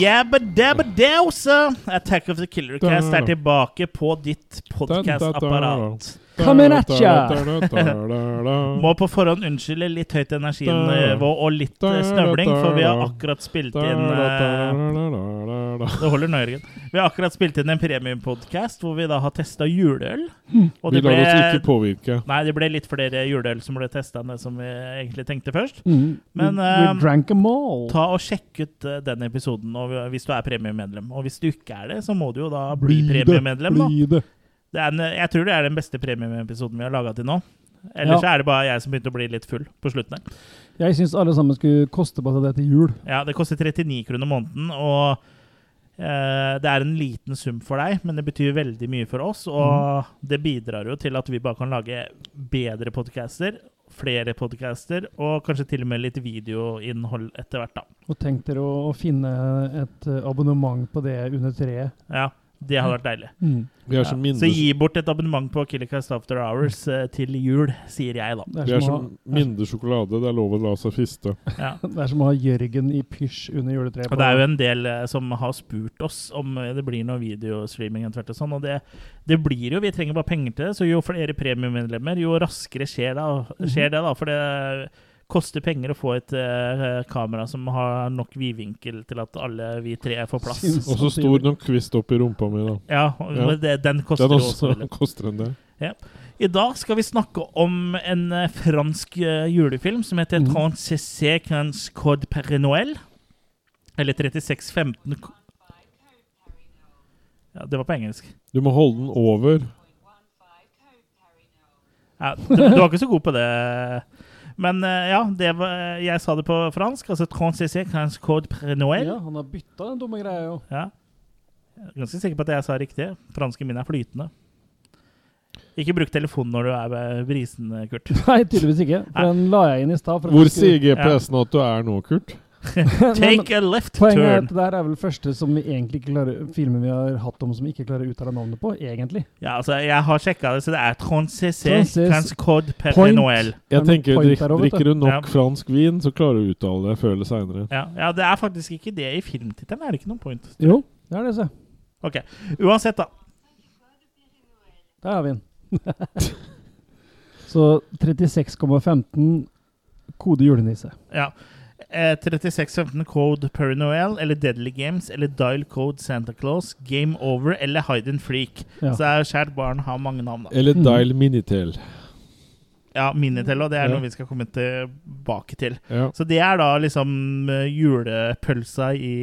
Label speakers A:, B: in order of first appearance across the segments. A: Jabba dabba dausa! Attack of the Killer Cast er tilbake på ditt podkastapparat.
B: Coming at ya!
A: Må på forhånd unnskylde litt høyt energinivå og litt eh, snøvling, for vi har akkurat spilt inn eh,
C: eh,
A: Det holder nå, Jørgen. Vi har akkurat spilt inn en premiumpodkast hvor vi da har testa juleøl. Og
C: Vi
A: det
C: lar oss ikke
A: ble,
C: påvirke.
A: nei, det ble litt flere juleøl som ble testa enn det som vi egentlig tenkte først.
B: Mm.
A: Men,
B: we,
A: eh,
B: we drank 'em all.
A: Ta og Sjekk ut eh, den episoden og hvis du er premiemedlem. Og hvis du ikke er det, så må du jo da bli premiemedlem. da.
C: bli det.
A: Det er en, jeg tror det er den beste premieepisoden vi har laga til nå. Ellers
B: Ja.
A: er det bare jeg som begynte å bli litt full på slutten her.
B: Jeg syns alle sammen skulle koste på seg det til jul.
A: Ja, Det koster 39 kroner måneden, og eh, det er en liten sum for deg, men det betyr veldig mye for oss. Og det bidrar jo til at vi bare kan lage bedre podcaster, flere podcaster, og kanskje til og med litt videoinnhold etter hvert, da.
B: Og tenk dere å, å finne et eh, abonnement på det under treet.
A: Ja, det hadde vært deilig.
B: Mm.
C: Vi er
A: Ja.
C: som
A: Så
C: mindes...
A: gi bort et abonnement på Killercast After Hours eh, til jul, sier jeg, da.
B: Det,
C: Vi
B: er
C: er
B: som å,
C: som mindre sjokolade. Det er lov å la seg friste.
A: Ja.
B: ha- det er som å ha Jørgen i pysj under juletreet.
A: Og det er jo en del eh, som har spurt oss om eh, det blir noe videostreaming etter hvert og sånn, og det, det blir jo, vi trenger bare penger til det, så jo flere premiemedlemmer, jo raskere skjer det, skjer det da, for det koster penger å få et eh, kamera som har nok vidvinkel til at alle vi tre får plass.
B: Syns-
C: Og så stor nok kvist opp i rumpa mi, da.
A: Ja, og-
C: Ja.
A: men det, den koster
C: Den
A: jo også
C: også
A: veldig.
C: koster en del.
A: I dag skal vi snakke om en eh, fransk eh, julefilm som heter
B: Mhm.
A: 36 Cans Code Per Noël. Eller 3615 ko- ja, Det var på engelsk.
C: Du må holde den over.
A: Ja, du, du var ikke så god på det. Men eh, ja, det var, jeg sa det på fransk. Altså 36 Cans Code Per Noël.
B: Ja, han har bytta den dumme greia, jo.
A: Ja. Jeg er ganske sikker på at jeg sa riktig. Fransken min er flytende. Ikke bruk telefonen når du er eh, brisen, Kurt.
B: Nei, tydeligvis ikke. For den la jeg inn i stad. for at
C: Hvor
B: jeg skulle-
C: sier GPS-en at du er nå, Kurt?
B: Nei, men
A: Take a left
B: Poenget er
A: turn.
B: at det der er vel første som vi egentlig ikke klarer, filmen vi har hatt om som vi ikke klarer å uttale navnet på, egentlig.
A: Ja, altså, jeg har sjekka det, så det er Tronscc
B: Tronscc.
A: Transcode
B: Point.
A: Perinoel.
C: Jeg
B: Men
C: tenker,
B: point
C: drik,
B: der også, vet du.
C: Drikker du nok
A: Ja.
C: fransk vin, så klarer du å uttale det før eller seinere.
A: Ja, ja, det er faktisk ikke det i filmtittelen. Er det ikke noen point?
B: Jo, det er det, se.
A: Ok, Uansett, da.
B: Der har vi den. Så 36,15 kode julenisse.
A: Ja. Eh, 3615 Code Perinoel eller Deadly Games eller Dial Code Santa Claus, Game Over eller Hide and Freak.
B: Ja.
A: Så er kjært barn har mange navn, da.
C: Eller
B: Mm.
C: dial minitel.
A: Ja, Minitell, og det er
C: Ja.
A: noe vi skal komme tilbake til.
C: Ja.
A: Så det er da liksom eh, julepølsa i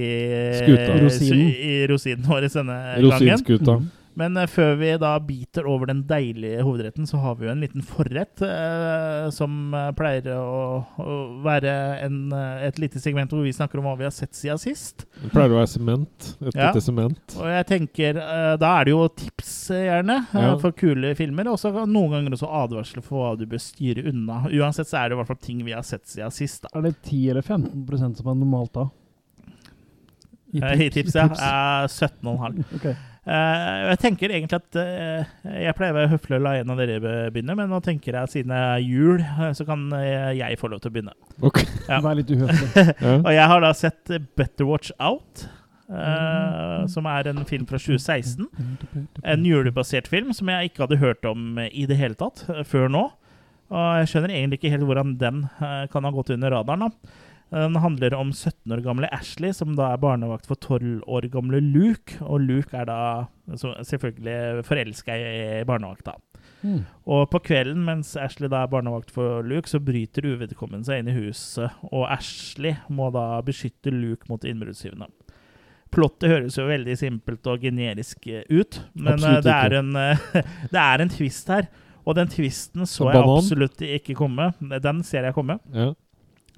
C: Skuta.
B: Rosinen.
A: I rosinen vår denne gangen.
C: Rosinskuta.
B: Mm.
A: Men eh, før vi da biter over den deilige hovedretten, så har vi jo en liten forrett eh, som eh, pleier å, å være en, eh, et lite segment hvor vi snakker om hva vi har sett siden sist.
C: Det pleier å være sement. Et
A: Ja.
C: lite sement.
A: Og jeg tenker, eh, Da er det jo tips, eh, gjerne, eh,
C: Ja.
A: for kule filmer. Og så noen ganger også advarsler for hva du bør styre unna. Uansett så er det i hvert fall ting vi har sett siden sist. da.
B: Er det 10 eller 15 som er normalt da?
A: Eh, I tips, ja. Eh, 17,5.
B: Ok.
A: Eh, jeg tenker egentlig at eh, Jeg pleier å være høflig og la en av dere be- begynne, men nå tenker jeg at siden det er jul, eh, så kan eh, jeg få lov til å begynne.
C: Ok.
A: Ja.
B: Vær litt uhøflig.
C: Ja.
A: Og jeg har da sett eh, Better Watch Out, eh,
B: Mm.
A: som er en film fra 2016. En julebasert film som jeg ikke hadde hørt om eh, i det hele tatt eh, før nå. Og jeg skjønner egentlig ikke helt hvordan den eh, kan ha gått under radaren. da. Eh, Den handler om 17 år gamle Ashley, som da er barnevakt for 12 år gamle Luke. Og Luke er da så selvfølgelig forelska i barnevakta.
B: Mm.
A: Og på kvelden, mens Ashley da er barnevakt for Luke, så bryter uvedkommende seg inn i huset, og Ashley må da beskytte Luke mot innbruddstyvene. Plottet høres jo veldig simpelt og generisk eh, ut, men eh,
C: Absolutt
A: det er,
C: ikke.
A: en, eh, det er en twist her. Og den twisten så
C: En
A: jeg
C: banan?
A: absolutt ikke komme. Den ser jeg komme,
C: Ja.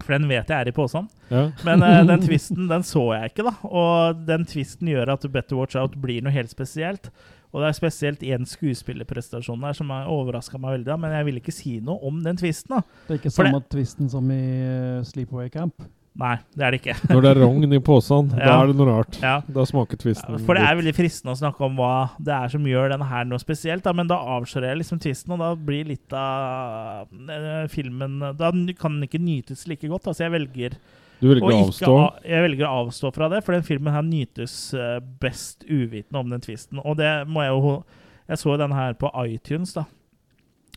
A: for den vet jeg er i posen.
C: Ja.
A: Men eh, den twisten den så jeg ikke, da. Og den twisten gjør at Better Watch Out blir noe helt spesielt. Og det er spesielt én skuespillerprestasjon her som overraska meg veldig. da, Men jeg vil ikke si noe om den twisten. da.
B: Det er ikke
A: For det-
B: samme twisten som i eh, Sleepaway Camp.
A: Nei, det er det ikke.
C: Når det er rogn i posen, da
A: Ja.
C: er det noe rart.
A: Ja.
C: Da smaker tvisten
A: For det er veldig fristende å snakke om hva det er som gjør denne her noe spesielt, da, men da avslører jeg liksom tvisten, og da blir litt av eh, filmen Da kan den ikke nytes like godt. da, så jeg velger
C: godt. Du velger
A: Og
C: å
A: ikke
C: avstå.
A: a- jeg velger å avstå fra det, for den filmen her nytes eh, best uvitende om den tvisten. Og det må jeg jo Jeg så den her på iTunes, da.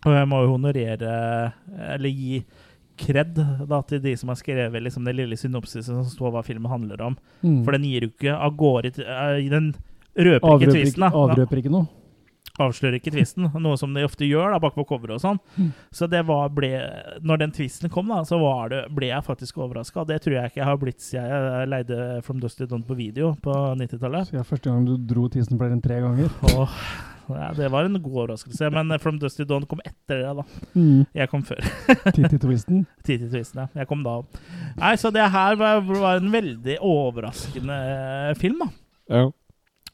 A: Og jeg må jo honorere Eller gi kred da, til de som har skrevet liksom, det lille synopsiset som står hva filmen handler om.
B: Mm.
A: For den gir jo ikke av gårde til- eh, Den røper ikke
B: Avrøper
A: tvisten.
B: Mm. ikke,
A: da. Den
B: avrøper ikke noe.
A: avslører ikke tvisten, noe som de ofte gjør da, bakpå coveret og sånn.
B: Mm.
A: Så det var ble, når den tvisten kom, da, så var det, ble jeg faktisk overraska. Det tror jeg ikke jeg har blitt siden jeg eh, leide From Dust to Dawn på video på 90-tallet.
B: Så jeg, første gang du dro tissen flere enn tre ganger.
A: Og, Ja, det var en god overraskelse, men eh, From Dust to Dawn kom etter det. da.
B: Mm.
A: Jeg kom før.
B: Titti-twisten.
A: Tid til tvisten, ja. Jeg kom da opp. Nei, Så det her var, var en veldig overraskende eh, film. da.
C: Ja.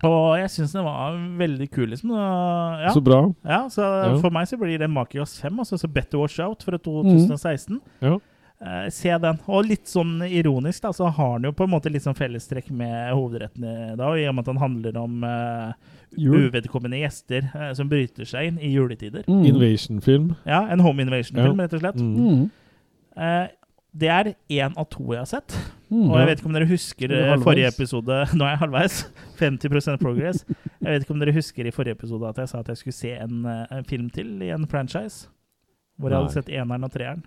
A: Og jeg syns den var veldig kul, liksom. Og, ja.
C: Så bra.
A: Ja, så
C: Ja.
A: for meg så blir det Makios 5, altså så Better Watch Out fra 2016.
C: Ja.
A: Eh, se den. Og litt sånn ironisk, da, så har han jo på en måte litt sånn fellestrekk med hovedretten i dag, i og med at han handler om eh,
B: Jul.
A: uvedkommende gjester eh, som bryter seg inn i juletider.
B: Mm.
C: Invasion-film.
A: Ja, en home invasion-film, rett og slett.
C: Mm.
B: Mm.
A: Eh, det er én av to jeg har sett.
B: Mm.
A: Og jeg vet ikke om dere husker
B: Du er
A: eh,
B: halvveis.
A: forrige episode Nå er jeg halvveis. 50 progress. Jeg vet ikke om dere husker i forrige episode at jeg sa at jeg skulle se en, eh, en film til i en franchise. Hvor jeg hadde
C: Nei.
A: sett eneren og treeren.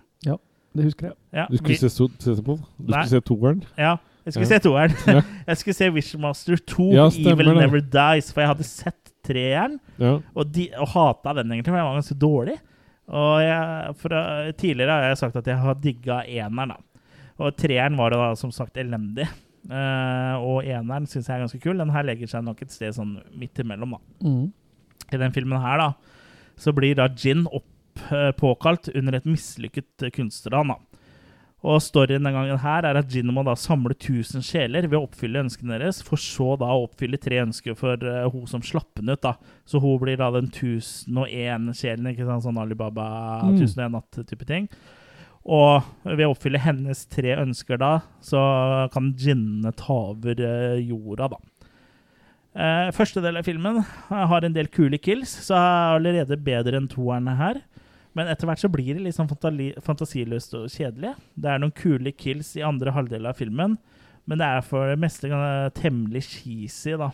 B: Det husker jeg.
A: Ja,
C: Du skulle
A: vi,
C: se, so- se på den? Du
A: Nei.
C: skulle se toeren?
A: ja jeg skulle
C: Ja.
A: se toeren.
C: Ja.
A: Jeg skulle se Wishmaster 2,
C: Ja, stemmer
A: Evil
C: det.
A: Never Dies. For jeg hadde sett treeren,
C: Ja.
A: og, de, og hata den egentlig, for den var ganske dårlig. Og jeg, fra, tidligere har jeg sagt at jeg har digga eneren, da. Og treeren var jo da som sagt elendig. Eh, og eneren syns jeg er ganske kul. Den her legger seg nok et sted sånn midt imellom, da.
B: Mm.
A: I den filmen her, da, så blir da Gin opp, eh, påkalt under et mislykket eh, kunstnerran, da. Og storyen den gangen her er at Gin må da samle 1000 sjeler ved å oppfylle ønskene deres, for så da å oppfylle tre ønsker for eh, hun som slapp henne ut, da. Så hun blir da den 1001-sjelen, ikke sant, sånn Alibaba
B: Mm.
A: 1001 natt-type ting. Og ved å oppfylle hennes tre ønsker da, så kan ginnene ta over eh, jorda, da. Eh, første del av filmen eh, har en del kule kills, så er allerede bedre enn toerne her. Men etter hvert så blir det litt sånn fantali- fantasiløst og kjedelig. Det er noen kule kills i andre halvdel av filmen, men det er for det meste eh, temmelig cheesy, da.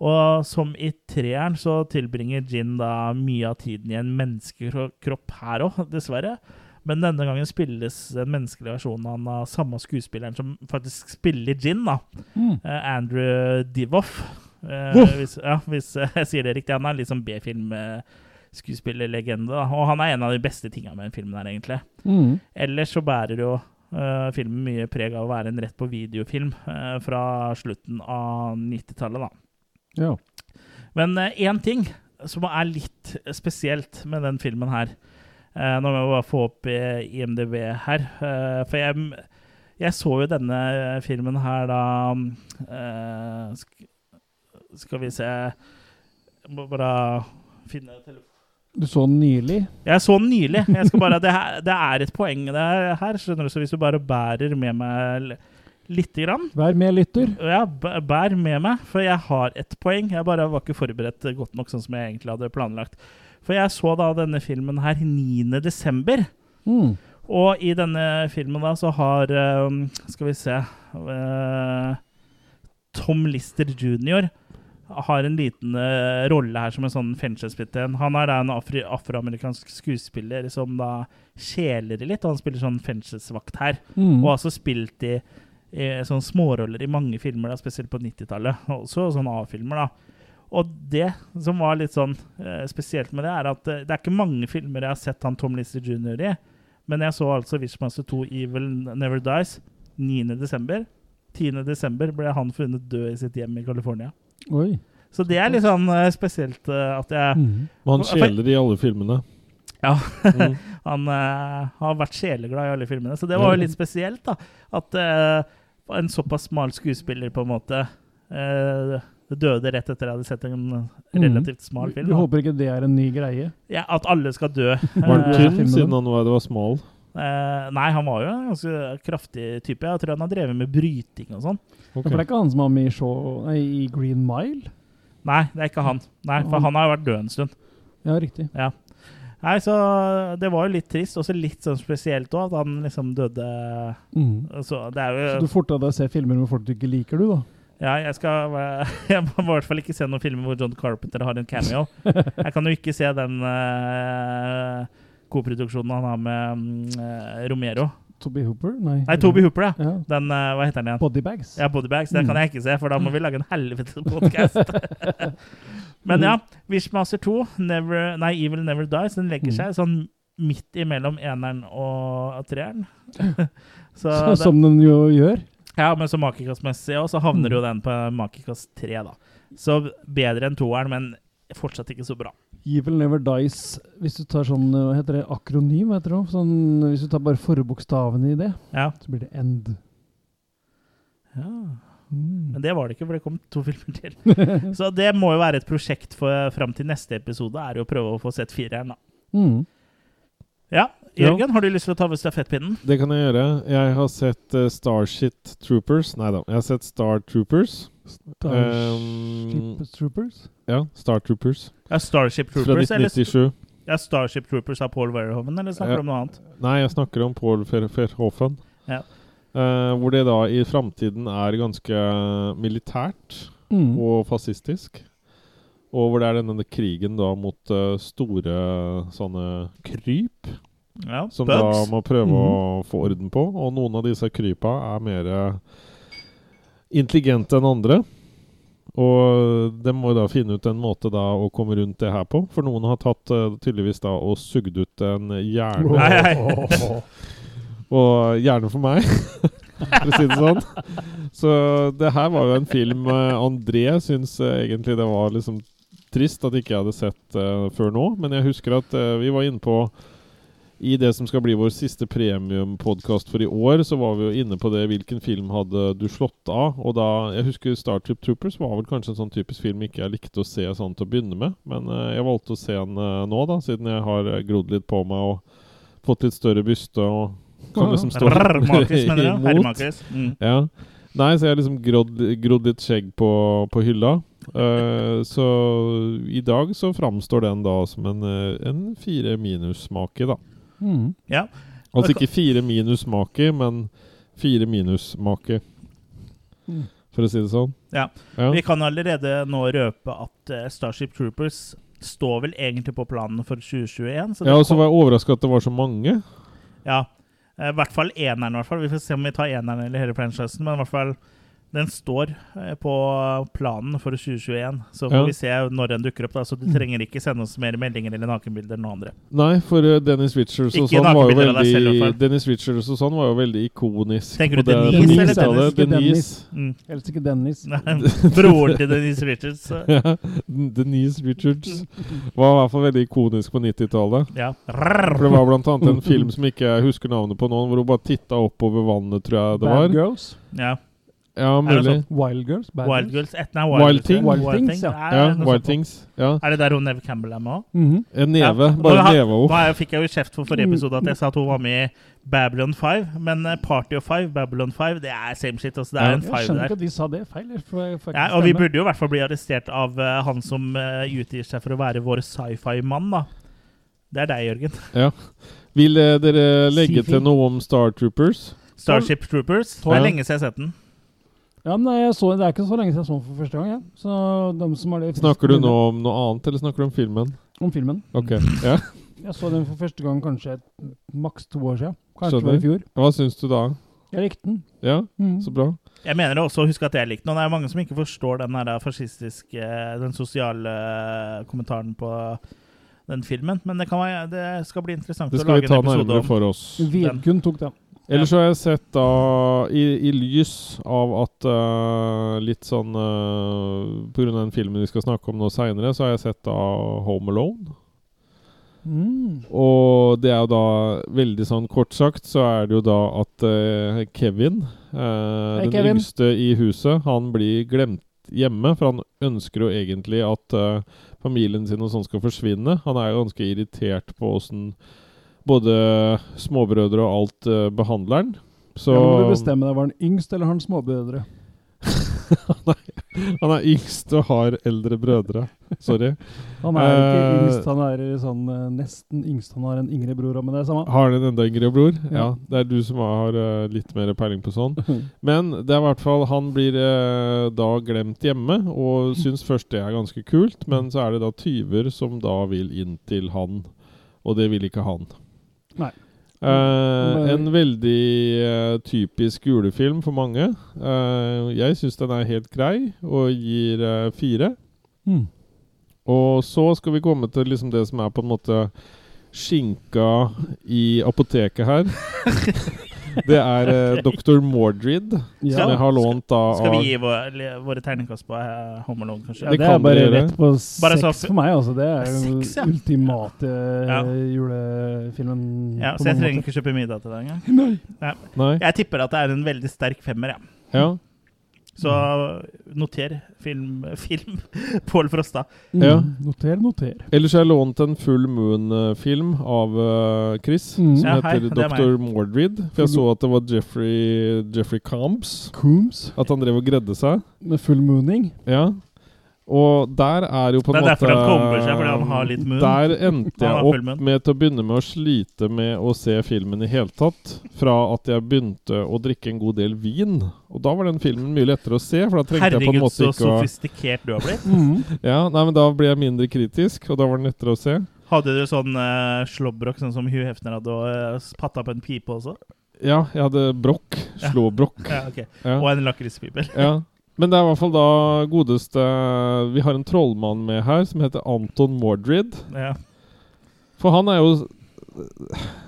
A: Og som i treeren så tilbringer Gin da mye av tiden i en menneskekropp her òg, dessverre. Men denne gangen spilles den menneskelige versjonen av samme skuespilleren som faktisk spiller Gin, da.
B: Mm.
A: Eh, Andrew Divoff. Eh,
C: Voff!
A: hvis ja, hvis eh, jeg sier det riktig. Han er litt sånn B-filmskuespillerlegende. da. Og han er en av de beste tinga med den filmen her, egentlig.
B: Mm.
A: Ellers så bærer jo eh, filmen mye preg av å være en rett på videofilm eh, fra slutten av 90-tallet, da.
B: Ja.
A: Men eh, én ting som er litt spesielt med den filmen her eh, Nå må jeg bare få opp eh, IMDb her. eh, for jeg, jeg så jo denne eh, filmen her da eh, sk Skal vi se Jeg må bare finne telefonen
B: Du så den nylig?
A: Jeg så den nylig. Jeg skal bare, det, her, det er et poeng det her, skjønner du. Så hvis du bare bærer med meg l- lite grann
B: Vær med, lytter.
A: ja, b- bær med meg, for jeg har ett poeng. Jeg bare var ikke forberedt godt nok, sånn som jeg egentlig hadde planlagt. For jeg så da denne filmen her 9. desember,
B: Mm.
A: og i denne filmen da så har eh, Skal vi se eh, Tom Lister jr. har en liten eh, rolle her som en sånn fengselsbetjent. Han er da en afri, afroamerikansk skuespiller som da kjeler i litt, og han spiller sånn fengselsvakt her.
B: Mm.
A: Og har også spilt i, i sånne småroller i mange filmer, da, spesielt på 90-tallet. Også sånne A-filmer, da. Og det som var litt sånn eh, spesielt med det, er at eh, det er ikke mange filmer jeg har sett han Tom Lister jr. i. Men jeg så altså Wishmaster 2 Evil Never Dies 9.12. 10.12. ble han funnet død i sitt hjem i California.
B: Oi.
A: Så det er litt sånn eh, spesielt eh, at jeg
B: Mm.
C: Men han
A: For-
C: skjeler i alle filmene.
A: Ja.
C: Mm.
A: Han eh, har vært sjeleglad i alle filmene, så det var jo litt spesielt, da. At eh, en såpass smal skuespiller på en måte eh, døde rett etter jeg hadde sett
C: Mm.
A: en relativt smal
B: Vi,
A: film.
B: vi
A: da.
B: Mm. håper ikke det er en ny greie.
A: Ja, at alle skal dø.
C: Var
A: Eh,
C: den
B: filmen
C: tynn siden
B: da?
C: han var, det var smal?
A: eh, nei, han var jo en ganske kraftig type. Jeg tror han har drevet med bryting og sånn.
C: Ok.
B: Ja, For det er ikke han som var med i, show, nei, i Green Mile?
A: Nei, det er ikke han. Nei, For han har jo vært død en stund.
B: Ja, riktig.
A: Nei, så det var jo litt trist, også litt sånn spesielt òg, at han liksom døde eh,
B: Mhm.
A: Så det er
B: Så
A: jo
B: du forta deg å se filmer med folk du ikke liker, du, da?
A: Ja, jeg skal være- Jeg må i hvert fall ikke se noen filmer hvor John Carpenter har en cameo. Jeg kan jo ikke se den eh, koproduksjonen han har med mm, eh, Romero.
B: Toby Hooper? Nei,
A: Nei, Toby Hooper, ja.
B: Ja.
A: Den, eh, hva heter den igjen?
B: Bodybags.
A: Ja, Bodybags. Det kan jeg ikke se, for da må vi lage en helvetes podkast. Men ja, Wishmaster 2, Never, nei, Evil Never Dies, den
B: Mm.
A: legger seg sånn midt imellom eneren og treeren. Så
B: Så,
A: det,
B: som den jo gjør.
A: ja, men så makekastmessig òg, så havner
C: Mm.
A: jo den på makekast 3, da. Så bedre enn toeren, men fortsatt ikke så bra.
B: Evil Never Dies. Hvis du tar sånn hva heter det, akronym, hva heter det? Sånn, hvis du tar bare forbokstavene i det,
A: Ja.
B: så blir det End. Mm.
A: Men det var det ikke, for det kom to filmer til. Så det må jo være et prosjekt for fram til neste episode, er jo å prøve å få sett fireren, da.
B: Mm.
A: Ja,
C: Ja.
A: Jørgen, har du lyst til å ta over stafettpinnen?
C: Det kan jeg gjøre. Jeg har sett eh, Starship Troopers. Nei da, jeg har sett Star Troopers. Ehm,
B: Starship Troopers?
C: Ja, Star Troopers.
A: Ja, Starship
C: Fra
A: Troopers, eller
C: 1997.
A: ja, Starship Troopers av Paul Verhoeven, eller snakker du
C: Ja.
A: om noe annet?
C: Nei, jeg snakker om Paul Ver- Verhoeven.
A: Ja.
C: Eh, hvor det da i framtiden er ganske eh, militært
B: Mm.
C: og fascistisk. Og hvor det er denne krigen da mot eh, store sånne kryp,
A: Ja, Mhm.
C: som da
A: Bugs.
C: må prøve å få orden på. Og noen av disse krypa er mer eh, intelligente enn andre. Og de må jo da finne ut en måte da å komme rundt det her på. For noen har tatt eh, tydeligvis da og sugd ut en hjerne.
A: Nei, nei.
C: Og gjerne for meg, for å si det sånn. Så det her var jo en film eh, André syns eh, egentlig det var liksom trist at ikke jeg hadde sett eh, før nå. Men jeg husker at eh, vi var inne på I det som skal bli vår siste premiumpodkast for i år, så var vi jo inne på det Hvilken film hadde du slått av? Og da Jeg husker Star Trip Troopers var vel kanskje en sånn typisk film ikke jeg likte å se sånn til å begynne med. Men eh, jeg valgte å se den eh, nå, da, siden jeg har eh, grodd litt på meg og fått litt større byste og kan liksom stå
A: Rrr, Markus, mener du? Herre
C: imot.
A: Markus. Mm.
C: Ja. Nei, så jeg har liksom grodd, grodd litt skjegg på, på hylla. Eh, så i dag så framstår den da som en, eh, en fire minus-make, da.
B: Mm.
C: Altså ikke fire minus-make, men fire minus-make,
B: Mm.
C: for å si det sånn.
A: Ja.
C: Ja.
A: Vi kan allerede nå røpe at eh, Starship Troopers står vel egentlig på planen for 2021. Så det
C: Ja, og så
A: kom-
C: var jeg overraska at det var så mange.
A: ja. Eh, I hvert fall eneren, i hvert fall. Vi får se om vi tar eneren eller hele franchisen, men i hvert fall den står eh, på planen for 2021. Så får
C: Ja. Mm.
A: vi se når den dukker opp, da. Så du trenger ikke sende oss mer meldinger eller nakenbilder enn noen andre.
C: Nei, for eh, Dennis Richards og
A: Ikke
C: sånn var jo
A: nakenbilder av deg selv, i
C: veldig
A: hvert fall.
C: Dennis Richards og sånn var jo veldig ikonisk.
A: Tenker du
C: på det-
A: Denise
C: på
A: eller
C: 90-tallet.
B: Dennis? Ikke
C: Denise.
A: Mm.
B: Helst ikke Dennis.
A: Nei, Broren til Denise Richards. så-
C: Ja, Denise Richards var i hvert fall veldig ikonisk på 90-tallet.
A: Ja.
C: For Det var blant annet en film som ikke jeg husker navnet på nå, hvor hun bare titta oppover vannet, tror jeg det
B: Bad
C: var.
B: Girls?
A: ja.
C: Ja,
A: Er det sånn?
C: mulig.
B: Wild Girls? Bad
A: Wild Girls. Et, nei, Wild,
C: Wild
A: Girls,
C: Things?
A: ja.
B: Wild Things,
A: Nei,
B: ja.
A: det
C: Ja,
A: er noe sånt.
C: Wild Things. Ja.
A: Er det der hun Neve Campbell er med òg?
B: Mhm.
C: En neve.
A: Ja.
C: Bare
A: Nå har-
C: neva opp.
A: Nå er jeg- fikk jeg jo kjeft for forrige episode at jeg sa at hun var med i Babylon 5, men eh, Party of 5, Babylon 5, det er same shit. Altså, det er
C: Ja.
A: en
B: Jeg
A: 5
B: skjønner ikke
A: der.
B: at de sa det feil. eller får jeg faktisk
A: Ja, og vi
B: stemme?
A: burde jo i hvert fall bli arrestert av eh, han som eh, utgir seg for å være vår sci-fi-mann, da. Det er deg, Jørgen.
C: Vil eh, dere legge
B: Sifi.
C: til noe om Star Troopers?
A: Starship Troopers. Det
C: Ja.
A: er lenge siden jeg har sett den.
B: Ja, men jeg så, Det er ikke så lenge siden jeg så den for første gang. Ja. Så dem som har det
C: Snakker du nå om noe annet, eller snakker du om filmen?
B: Om filmen.
C: Ok, ja.
B: Jeg så den for første gang kanskje et, maks to år siden. Kanskje det
C: Skjønner.
B: var i fjor.
C: Hva syns du da?
B: Jeg likte den.
C: Ja,
B: Mhm.
C: så bra.
A: Jeg mener også å huske at jeg likte den. og Det er mange som ikke forstår den her fascistiske eh, Den sosiale eh, kommentaren på den filmen. Men det, kan være, det skal bli interessant å
C: Det skal vi
A: lage
C: ta
A: en episode
C: nærmere
A: om.
C: for oss.
B: Vidkun tok den.
C: Ellers så har jeg sett da i, i lys av at eh, litt sånn eh, På grunn av den filmen vi skal snakke om nå seinere, så har jeg sett da Home Alone.
B: Mm.
C: Og det er jo da veldig sånn kort sagt så er det jo da at eh, Kevin, eh, den
B: Kevin.
C: yngste i huset, han blir glemt hjemme. For han ønsker jo egentlig at eh, familien sin og sånn skal forsvinne. Han er jo ganske irritert på åssen både småbrødre og alt eh, behandler han. Så
B: Ja, nå må du bestemme deg, var han yngst eller har han småbrødre?
C: Han er yngst og har eldre brødre. Sorry.
B: Han er jo ikke
C: Eh,
B: yngst, han er sånn eh, nesten yngst. Han har en yngre bror, men det er samme.
C: Har han en enda yngre bror?
B: Ja.
C: Ja. Det er du som har eh, litt mer peiling på sånn. Men det er i hvert fall han blir eh, da glemt hjemme, og syns først det er ganske kult, men så er det da tyver som da vil inn til han, og det vil ikke han.
B: Nei.
C: Eh, en veldig eh, typisk julefilm for mange. Eh, jeg syns den er helt grei, og gir eh, fire.
B: Mm.
C: Og så skal vi komme til liksom det som er på en måte skinka i apoteket her. Det er eh, Dr. Mordred,
B: Ja.
C: som jeg har lånt da
A: Skal vi
C: av
A: gi vår, le- våre terningkast på eh, Home Alone,
B: Ja,
A: kanskje?
B: det,
C: det
B: er
C: kan
B: bare
C: dere gjøre.
B: rett på
A: Bare så
B: seks
A: f-
B: for meg, altså. Det er jo
A: Seks, ja.
B: ultimate eh,
A: Ja.
B: julefilmen.
A: Ja,
B: på
A: så jeg
B: mange
A: trenger
B: måter.
A: ikke kjøpe middag til deg engang.
C: Nei.
A: Jeg tipper at det er en veldig sterk femmer, jeg.
C: Ja.
A: Så
C: Mm.
A: noter film, film Pål Frosta.
B: Mm.
C: Ja.
B: Noter, noter.
C: Ellers har jeg lånt en Full Moon-film av eh, Chris,
B: Mm.
C: som
A: Ja, hei,
C: heter
A: det er
C: Dr. Mordred. For jeg så at det var Jeffrey, Jeffrey Combs.
B: Coombs
C: At han drev og gredde seg.
B: med full mooning.
C: Ja. Og der er jo på en
A: Det er
C: måte
A: derfor han kommer seg, fordi han har litt munn.
C: Der endte
A: Han har
C: jeg
A: full munn.
C: opp med til å begynne med å slite med å se filmen i hele tatt. Fra at jeg begynte å drikke en god del vin. Og da var den filmen mye lettere å se, for da trengte jeg på en
A: Herregud,
C: måte
A: så
C: ikke å
A: sofistikert du har blitt.
C: Mm.
B: Mm.
C: Ja, nei, men da ble jeg mindre kritisk, og da var den lettere å se.
A: Hadde du sånn uh, slåbrok, sånn som Hugh Hefner hadde, og eh, patta på en pipe også?
C: Ja, jeg hadde brokk. Slåbrokk.
A: Ja, ok.
C: Ja.
A: Og en lakrispipe.
C: Ja. Men det er i hvert fall da godeste Vi har en trollmann med her som heter Anton Mordred.
A: Ja.
C: For han er jo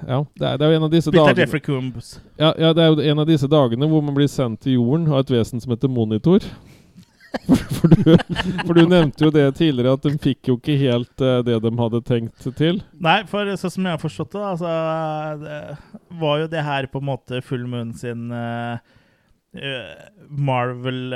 C: Ja, det er, det er jo en av disse
A: Spilt av
C: dagene
A: Jeffrey Coombs.
C: Ja, ja, det er jo en av disse dagene hvor man blir sendt til jorden av et vesen som heter monitor. For, for, du, for du nevnte jo det tidligere, at de fikk jo ikke helt eh, det de hadde tenkt til.
A: Nei, for sånn som jeg har forstått det, altså, det var jo det her på en måte Full Moon sin eh,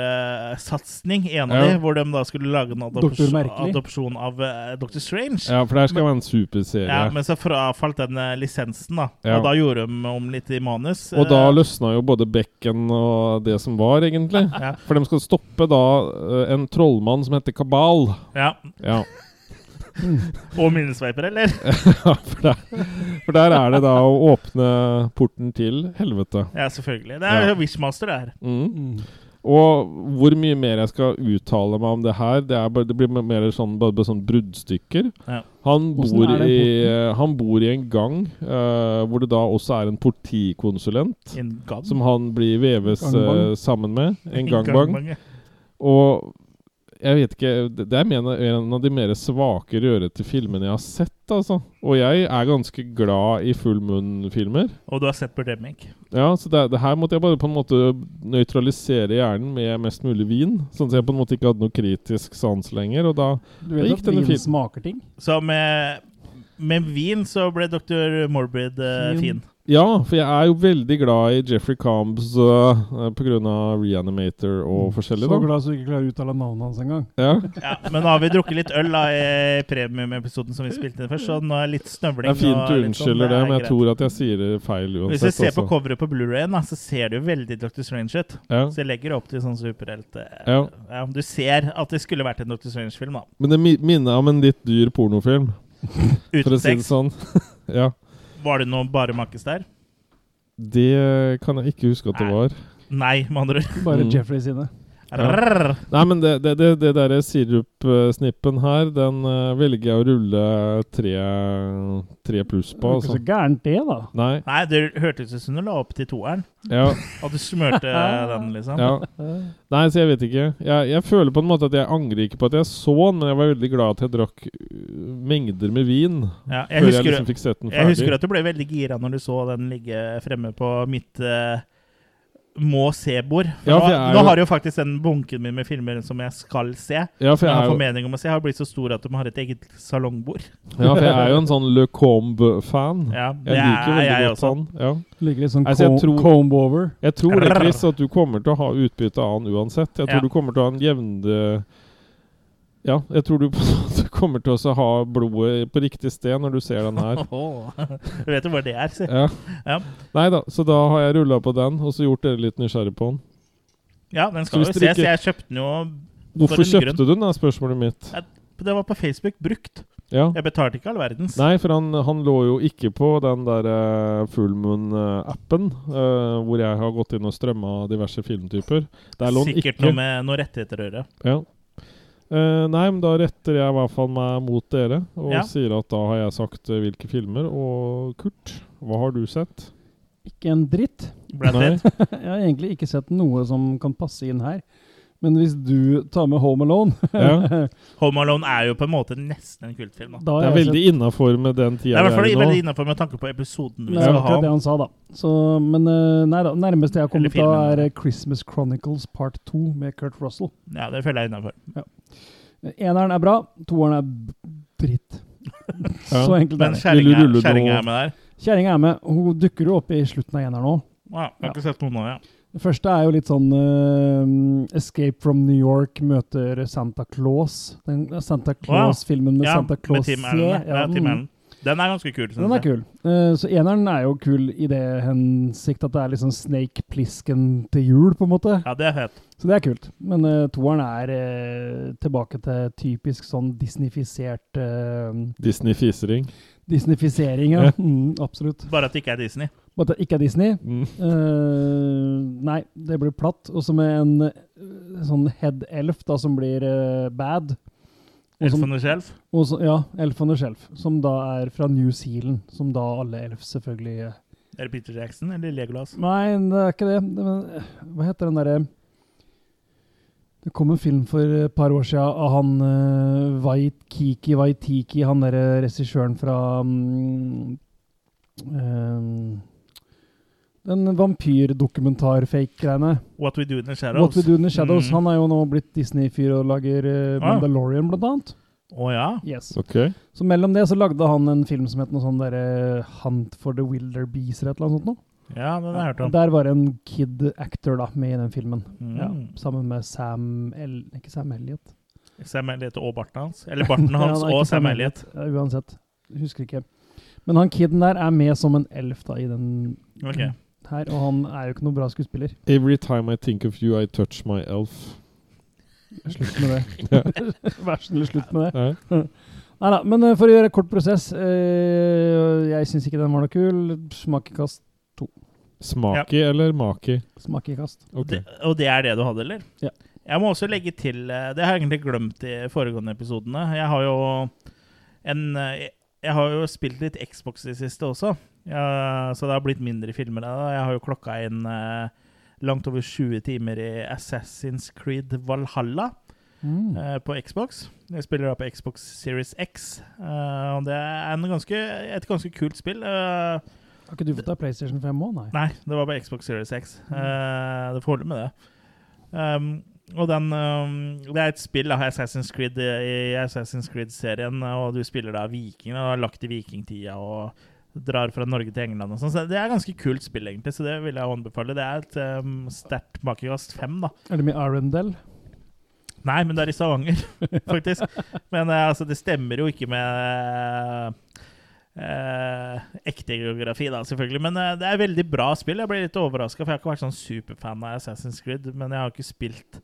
A: Marvel-satsing, en av
C: Ja.
A: de, hvor de da skulle lage en
B: Dr.
A: adopsjon,
B: Merkelig.
A: adopsjon av uh, Dr. Strange. Ja.
C: Ja, for det her skal være en superserie.
A: Men så frafalt den eh, lisensen, da.
C: Ja.
A: Og da gjorde de om litt i manus.
C: og da
A: eh,
C: løsna jo både bekken og det som var, egentlig.
A: Ja.
C: For de skal stoppe da eh, en trollmann som heter Kabal.
A: ja.
C: Ja,
A: Og minnesveiper, eller?
C: for, der, for der er det da å åpne porten til helvete.
A: Ja, selvfølgelig. Det er
C: Ja.
A: jo Wishmaster, det her.
C: Mm.
B: Mm.
C: Og hvor mye mer jeg skal uttale meg om det her Det, er bare, det blir mer sånn, bare, bare sånn bruddstykker.
A: Ja.
C: Han,
B: Hvordan
C: bor
B: er den
C: i, han bor i en gang eh, hvor det da også er en politikonsulent
A: En gang.
C: som han blir veves eh,
B: Gangbang.
C: sammen med. En gangbang.
A: ja.
C: Og jeg vet ikke Det det er men- en av de mer svake, rørete filmene jeg har sett. altså Og jeg er ganske glad i full munn-filmer.
A: Og du har sett Birdemic.
C: Ja, så det, det her måtte jeg bare på en måte nøytralisere hjernen med mest mulig vin. Sånn at jeg på en måte ikke hadde noe kritisk sans lenger. Og da
B: Du
C: Da gikk
B: vet at
C: denne
B: vin
C: fin-
B: smaker ting?
A: Så med, med vin så ble Dr. Morbid eh,
B: Fin.
A: fin.
C: Ja, for jeg er jo veldig glad i Jeffrey Combs øh, på grunn av Reanimator og forskjellig,
B: Mm. Så
C: da.
B: glad så du ikke klarer å uttale navnet hans engang.
C: Ja.
A: Ja, men nå har vi drukket litt øl da, i premiumepisoden som vi spilte inn først, så nå er det litt
C: Det
A: snøvling.
C: er fint
A: og
C: du
A: litt sånn,
C: unnskylder det,
A: er
C: men jeg
A: greit.
C: tror at jeg sier det feil
A: Hvis
C: uansett.
A: du ser på
C: altså.
A: coveret på Blu-rayen, da, så ser det jo veldig Dr. Strange ut.
C: ja.
A: Så jeg legger opp til sånn superhelt eh,
C: Ja.
A: ja, Du ser at det skulle vært en Dr. Strange-film, da.
C: Men det mi- minner om en litt dyr pornofilm, for
A: Uten
C: å si det
A: sex.
C: sånn. ja.
A: Var det noe bare makkes der?
C: Det kan jeg ikke huske at det
A: Nei.
C: var.
A: Nei, med andre
B: Bare
C: Mm.
B: Jeffrey sine.
A: ord.
C: Nei, men det, det, det, det derre sirupsnippen her, den eh, velger jeg å rulle tre, tre pluss
B: Det
C: på,
B: var ikke
C: altså.
B: så gærent det, da.
C: Nei.
A: Nei, det hørtes ut som du la opp til toeren.
C: Ja.
A: At du smørte den, liksom.
C: ja. Nei, så jeg vet ikke. Jeg, jeg føler på en måte at jeg angrer ikke på at jeg så den, men jeg var veldig glad at jeg drakk øh, mengder med vin
A: Ja, jeg
C: før jeg
A: husker
C: liksom fikk sett den
A: Jeg husker
C: ferdig.
A: at du ble veldig gira når du så den ligge fremme på mitt eh, må se-bord. For
C: Ja,
A: nå,
C: for jeg er
A: nå
C: jo-
A: har jo faktisk den bunken min med filmer som jeg skal se,
C: Ja, for
A: som jeg har
C: jeg er jo,
A: formening om å se, har blitt så stor at de har et eget salongbord.
C: ja, for jeg er jo en sånn Le Combe-fan.
A: Ja, det
C: Jeg liker
A: er
C: veldig
A: jeg
C: godt
A: også.
C: han. Ja.
B: Ligger litt sånn
C: Altså, jeg tror-
B: comb over.
C: Jeg tror det,
A: Rrrr.
C: Chris, at du kommer til å ha utbytte av han uansett. Jeg
A: Ja.
C: tror du kommer til å ha en jevne Ja, jeg tror du på en måte kommer til å også ha blodet på riktig sted når du ser den her.
A: Du vet jo hva det er, si.
C: Ja.
A: Ja.
C: Nei da, så da har jeg rulla på den, og så gjort dere litt nysgjerrig på den.
A: Ja, den
C: Så
A: skal jo
C: hvis dere
A: ses. Jeg kjøpte den jo
C: Hvorfor
A: For en
C: kjøpte du den, er spørsmålet mitt.
A: Det var på Facebook brukt.
C: Ja.
A: Jeg betalte ikke all verdens.
C: Nei, for han, han lå jo ikke på den der eh, Full Moon-appen, eh, hvor jeg har gått inn og strømma diverse filmtyper. Der lå han
A: Sikkert
C: ikke.
A: noe med noen rettigheter å gjøre.
C: Ja. Eh, nei, men da retter jeg i hvert fall meg mot dere og
A: Ja.
C: sier at da har jeg sagt eh, hvilke filmer. Og Kurt, hva har du sett?
B: Ikke en dritt.
A: Brad
C: Nei.
A: Pitt.
B: Jeg har egentlig ikke sett noe som kan passe inn her. Men hvis du tar med Home Alone
C: Ja.
A: Home Alone er jo på en måte nesten en kultfilm. Da.
B: da
C: Det
B: har
C: er
B: jeg
C: veldig innafor med den
A: Det
C: tida
A: er i hvert fall
C: vi er i
A: veldig
C: nå.
A: innenfor med tanke på episoden vi
B: Det er
A: skal ha.
B: akkurat det han sa, da. Så, men eh, nei, da, nærmeste jeg har kommet da,
A: Eller filmen.
B: er eh, Christmas Chronicles part 2 med Kurt Russell.
A: Ja, det føler jeg er innafor.
B: Eneren er bra, toeren er b- dritt.
C: Ja.
B: Så enkelt er
A: Men
C: Vil du
B: det.
A: kjerringa
C: rulle
A: kjerringa
C: nå?
A: er med der.
B: Kjerringa er med. Hun dukker jo opp i slutten av eneren òg.
A: Ja, jeg har ikke sett noen av dem. ja.
B: Det første er jo litt sånn eh, Escape from New York møter Santa Claus. Den eh, Santa Claus-filmen med
A: Ja,
B: Santa Claus
A: med Tim
B: C.
A: Allen. Ja, Tim
B: mm.
A: Allen. Den er ganske kul. Synes
B: Den er
A: jeg.
B: kul. Eh, så eneren er jo kul i det hensikt at det er liksom Snake Plisken til jul, på en måte.
A: Ja, det er fett.
B: Så det er kult. Men eh, toeren er eh, tilbake til typisk sånn Disney-fisert eh,
C: Disney-fisering.
B: Disney-fisering, ja.
C: Ja.
B: Mm, absolutt.
A: Bare at det ikke er Disney.
B: Bare at det ikke er Disney.
C: Mm.
B: Eh, nei, det blir platt. Og så med en eh, sånn head elf da, som blir eh, bad. Og
A: Elf
B: som-
A: on the Shelf.
B: Og så, ja, Elf on the Shelf, som da er fra New Zealand. Som da alle elf selvfølgelig eh,
A: Er det Peter Jackson eller Legolas?
B: Nei, det er ikke det. det men, eh, hva heter den derre Det kom en film for eh, et par år siden av han uh, Waitiki Waitiki, han derre regissøren fra mm, ehm, Den vampyrdokumentar-fake-greiene.
A: What We Do In The
B: What
A: Shadows.
B: We Do In The Shadows.
A: Mm.
B: Han er jo nå blitt Disney-fyr og lager eh,
A: Ah.
B: Mandalorian, blant annet.
A: Å ja.
B: Yes.
C: Ok.
B: Så mellom det så lagde han en film som het noe sånn derre Hunt for the Wilder Bees, eller et eller annet sånt noe.
A: Ja, den har jeg hørt
B: Og
A: om.
B: Der var det en kid actor da, med i den filmen.
A: Mm.
B: Ja, sammen med Sam El Ikke Sam Elliot.
A: Sam Elliot og barten hans. Eller barten
B: Ja,
A: hans
B: det er
A: og
B: ikke
A: Sam
B: Sam
A: Elliot.
B: Ja, uansett. Husker ikke. Men han kiden der er med som en elf da, i den
A: Ok.
B: her, og han er jo ikke noe bra skuespiller.
C: Every time I think of you, I touch my elf.
B: Slutt med det. Vær snill, slutt med det.
C: Ja.
B: Neida, men eh, for å gjøre et kort prosess eh, Jeg syns ikke den var noe kul. Smakekast.
C: Smaki eller maki?
B: Smakekast.
C: Ok.
A: Det, og det er det du hadde, eller?
B: Ja.
A: Jeg må også legge til eh, Det har jeg egentlig glemt i foregående episodene. Jeg har jo en eh, Jeg jeg har jo spilt litt Xbox i det siste også, ja, så det har blitt mindre filmer. av det. Jeg har jo klokka inn eh, langt over 20 timer i Assassin's Creed Valhalla
B: Mm.
A: eh, på Xbox. Jeg spiller da på Xbox Series X, eh, og det er en ganske, et ganske kult spill. eh,
B: Har ikke du fått deg PlayStation 5 òg, nei?
A: Nei, det var på Xbox Series X. Eh, det får holde med det. Um, og den um, Det er et spill av Assassin's Creed eh, i Assassin's Creed-serien, eh, og du spiller da vikingene og har lagt i vikingtida og drar fra Norge til England og sånn. Så det er et ganske kult spill, egentlig, så det vil jeg anbefale. Det er et um, sterkt makekast fem, da.
B: Er det med Arendelle?
A: Nei, men det er i Stavanger, faktisk. Men eh, altså, det stemmer jo ikke med eh, ekte geografi, da, selvfølgelig. Men eh, det er veldig bra spill. Jeg ble litt overraska, for jeg har ikke vært sånn superfan av Assassin's Creed. Men jeg har ikke spilt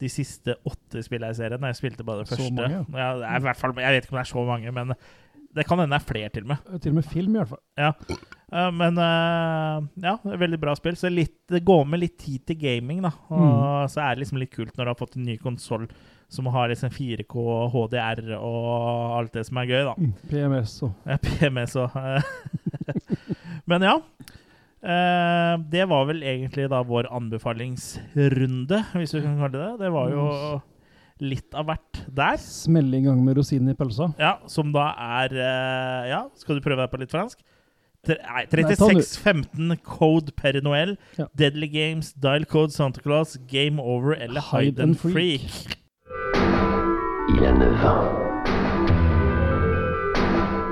A: de siste åtte spillene i serien. Jeg spilte bare det
B: Så
A: første.
B: mange,
A: ja, det er i hvert fall, jeg vet ikke om det er så mange, men det kan hende det er flere, til og med.
B: Til og med film, i hvert fall.
A: Eh, men eh, ja, det er veldig bra spill. Så litt, det går med litt tid til gaming, da. Og
B: Mm.
A: så er det liksom litt kult når du har fått en ny konsoll som har liksom 4K, HDR og alt det som er gøy, da.
B: PMS og
A: Eh, PMS og eh. Men ja. Eh, det var vel egentlig da vår anbefalingsrunde, hvis du kan kalle det det. Det var jo litt av hvert der.
B: Smelle i gang med rosinen i pølsa.
A: Ja, som da er eh, Ja, skal du prøve deg på litt fransk? Tre- Nei,
B: Nei, ta den
A: 3615 code per Noel,
B: Ja.
A: Deadly Games, Dial Code Santa Claus, Game Over eller Hide, and Freak.
D: Il a 9 ans.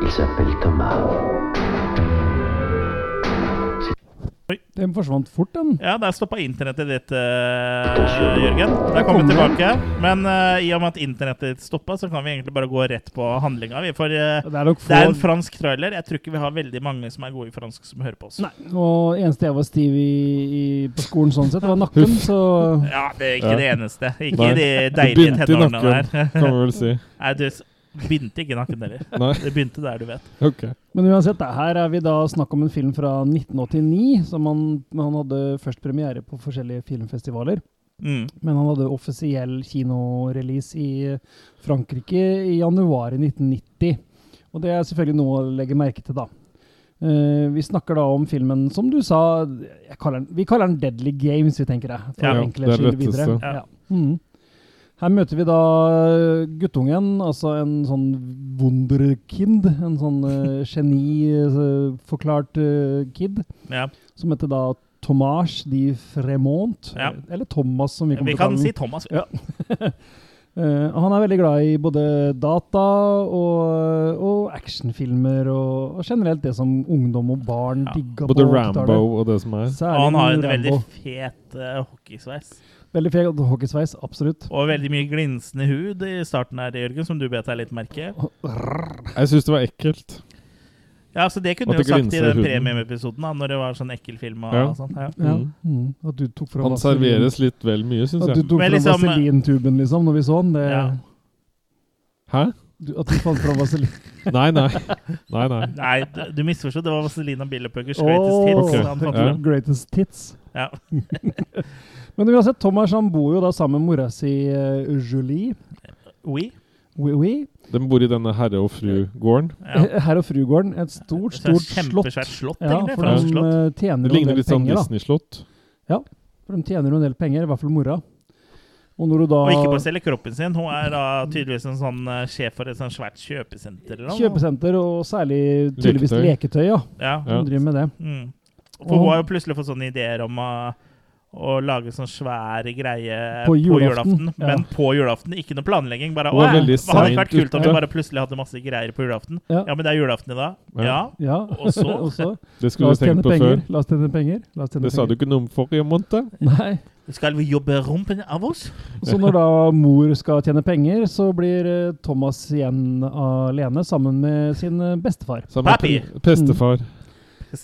D: Il s'appelle Thomas.
B: Den forsvant fort, den.
A: Ja, der stoppa internettet ditt,
D: Kanskje
A: eh,
D: det.
A: Jørgen. Der kom vi
B: kommer
A: tilbake. Men eh, i og med at internettet ditt stoppa, så kan vi egentlig bare gå rett på handlinga. Vi får, eh,
B: Det er nok
A: det er
B: få
A: en fransk trailer. Jeg tror ikke vi har veldig mange som er gode i fransk, som hører på oss.
B: Nei, og eneste jeg var stiv i, i på skolen sånn sett, det var nakken, så
A: Ja, det er ikke
C: Ja.
A: det eneste. Ikke
C: Nei.
A: de
C: Du
A: deilige
C: begynte i
A: tenårene der.
C: Kan vi vel si.
A: Nei, du s- begynte ikke i nakken heller.
C: Nei,
A: Det begynte der, du vet.
C: ok.
B: Men uansett, det her er vi da snakk om en film fra 1989, som han, han hadde først premiere på forskjellige filmfestivaler.
A: Mm.
B: Men han hadde offisiell kinorelease i Frankrike i januar i 1990. Og det er selvfølgelig noe å legge merke til, da. Eh, vi snakker da om filmen som du sa jeg kaller den, Vi kaller den Deadly Games, vi tenker det. For
A: Ja,
B: å
A: ja,
B: enkle
C: det er
B: skille
C: letteste.
B: videre.
A: Ja.
B: Ja. Mhm. Her møter vi da eh, guttungen, altså en sånn wunderkind. En sånn eh, geniforklart eh, kid
A: Ja.
B: som heter da Tomage de Fremont.
A: Ja.
B: Eller Thomas, som vi kommer
A: Vi
B: til å
A: kan
B: kalle
A: si
B: den.
A: Thomas.
B: Ja. Eh, han er veldig glad i både data og, og actionfilmer og, og generelt det som ungdom og barn
A: Ja,
B: digga
C: Både
B: på
C: Rambo
B: 80-tallet.
C: og det som er.
A: Og
B: Særlig
A: han har en
B: Rambo.
A: veldig fet eh, hockeysveis.
B: Veldig fet hockeysveis, absolutt.
A: Og veldig mye glinsende hud i starten her, Jørgen, som du bet deg litt merke.
C: Jeg syns det var ekkelt.
A: Ja, så det kunne
C: At
A: du jo
C: det
A: sagt i
C: glinser i
A: den
C: huden.
A: premieepisoden, da, når det var sånn ekkel film og,
C: Ja.
A: og sånt. Ja.
B: Ja.
C: Mm.
B: Mm. At du tok fra
C: Han serveres litt vel mye, syns
B: At du
C: jeg.
B: tok
A: Men
B: fra
A: liksom-
B: vaselintuben, liksom, når vi så den. Det,
A: Ja.
C: Hæ?
B: du, at du fant fra vaselin.
C: Nei, nei. Nei, nei.
A: Nei, du, du misforsto. Det var Vazelina Billepøkers Greatest
B: Åh,
A: Hits. Han
C: Ok.
A: fant
C: Ja.
A: fram.
B: Greatest hits.
A: Ja.
B: Men uansett, Thomas han bor jo da sammen med mora si eh, Julie.
A: Oui.
B: Oui, oui.
C: De bor i denne herre og fru-gården.
A: Ja.
B: Herr og frugården. Et stort,
A: Så det er
B: stort
A: et
B: slott.
A: Kjempesvært slott,
B: Ja,
A: egentlig.
B: for
A: fransk
B: de
A: slott.
B: eh,
C: Det
B: tjener jo en
C: ligner
B: del
C: litt sånn
B: penger, da.
C: Disney-slott.
B: For de tjener jo en del penger, i hvert fall mora. Og når du da
A: Og ikke bare selger kroppen sin. Hun er da tydeligvis en sånn eh, sjef for et sånt svært kjøpesenter. Eller noe.
B: Kjøpesenter, og særlig tydeligvis leketøy,
C: Leketøy.
B: ja.
A: Ja.
C: Ja.
B: Hun driver med det.
A: Mm. For
B: Og-
A: hun har jo plutselig fått sånne ideer om å, å lage sånn svær greie
B: På
A: på
B: julaften,
A: julaften.
B: ja.
A: Men på julaften, ikke noe planlegging. Bare,
C: Det var
A: «Å, ja,
C: veldig
A: det hadde vært
C: seint
A: kult om vi
C: ute».
A: bare plutselig hadde masse greier på julaften.
B: Ja.
A: Ja, men det er julaften i dag.
C: Ja.
A: Ja.
B: Ja.
A: Og så?
B: Og
C: Det
B: La
C: skulle
B: oss
C: du tenkt
B: tjene
C: på
B: penger.
C: før.
B: La oss tjene penger. La oss tjene
C: Det sa du
B: penger.
C: ikke noe om forrige måned.
B: Nei.
A: Skal vi jobbe rumpen av oss?
B: Så når da mor skal tjene penger, så blir eh, Thomas igjen alene sammen med sin eh, bestefar.
C: Sammen med
A: Papi! Mm.
C: pe- Pestefar.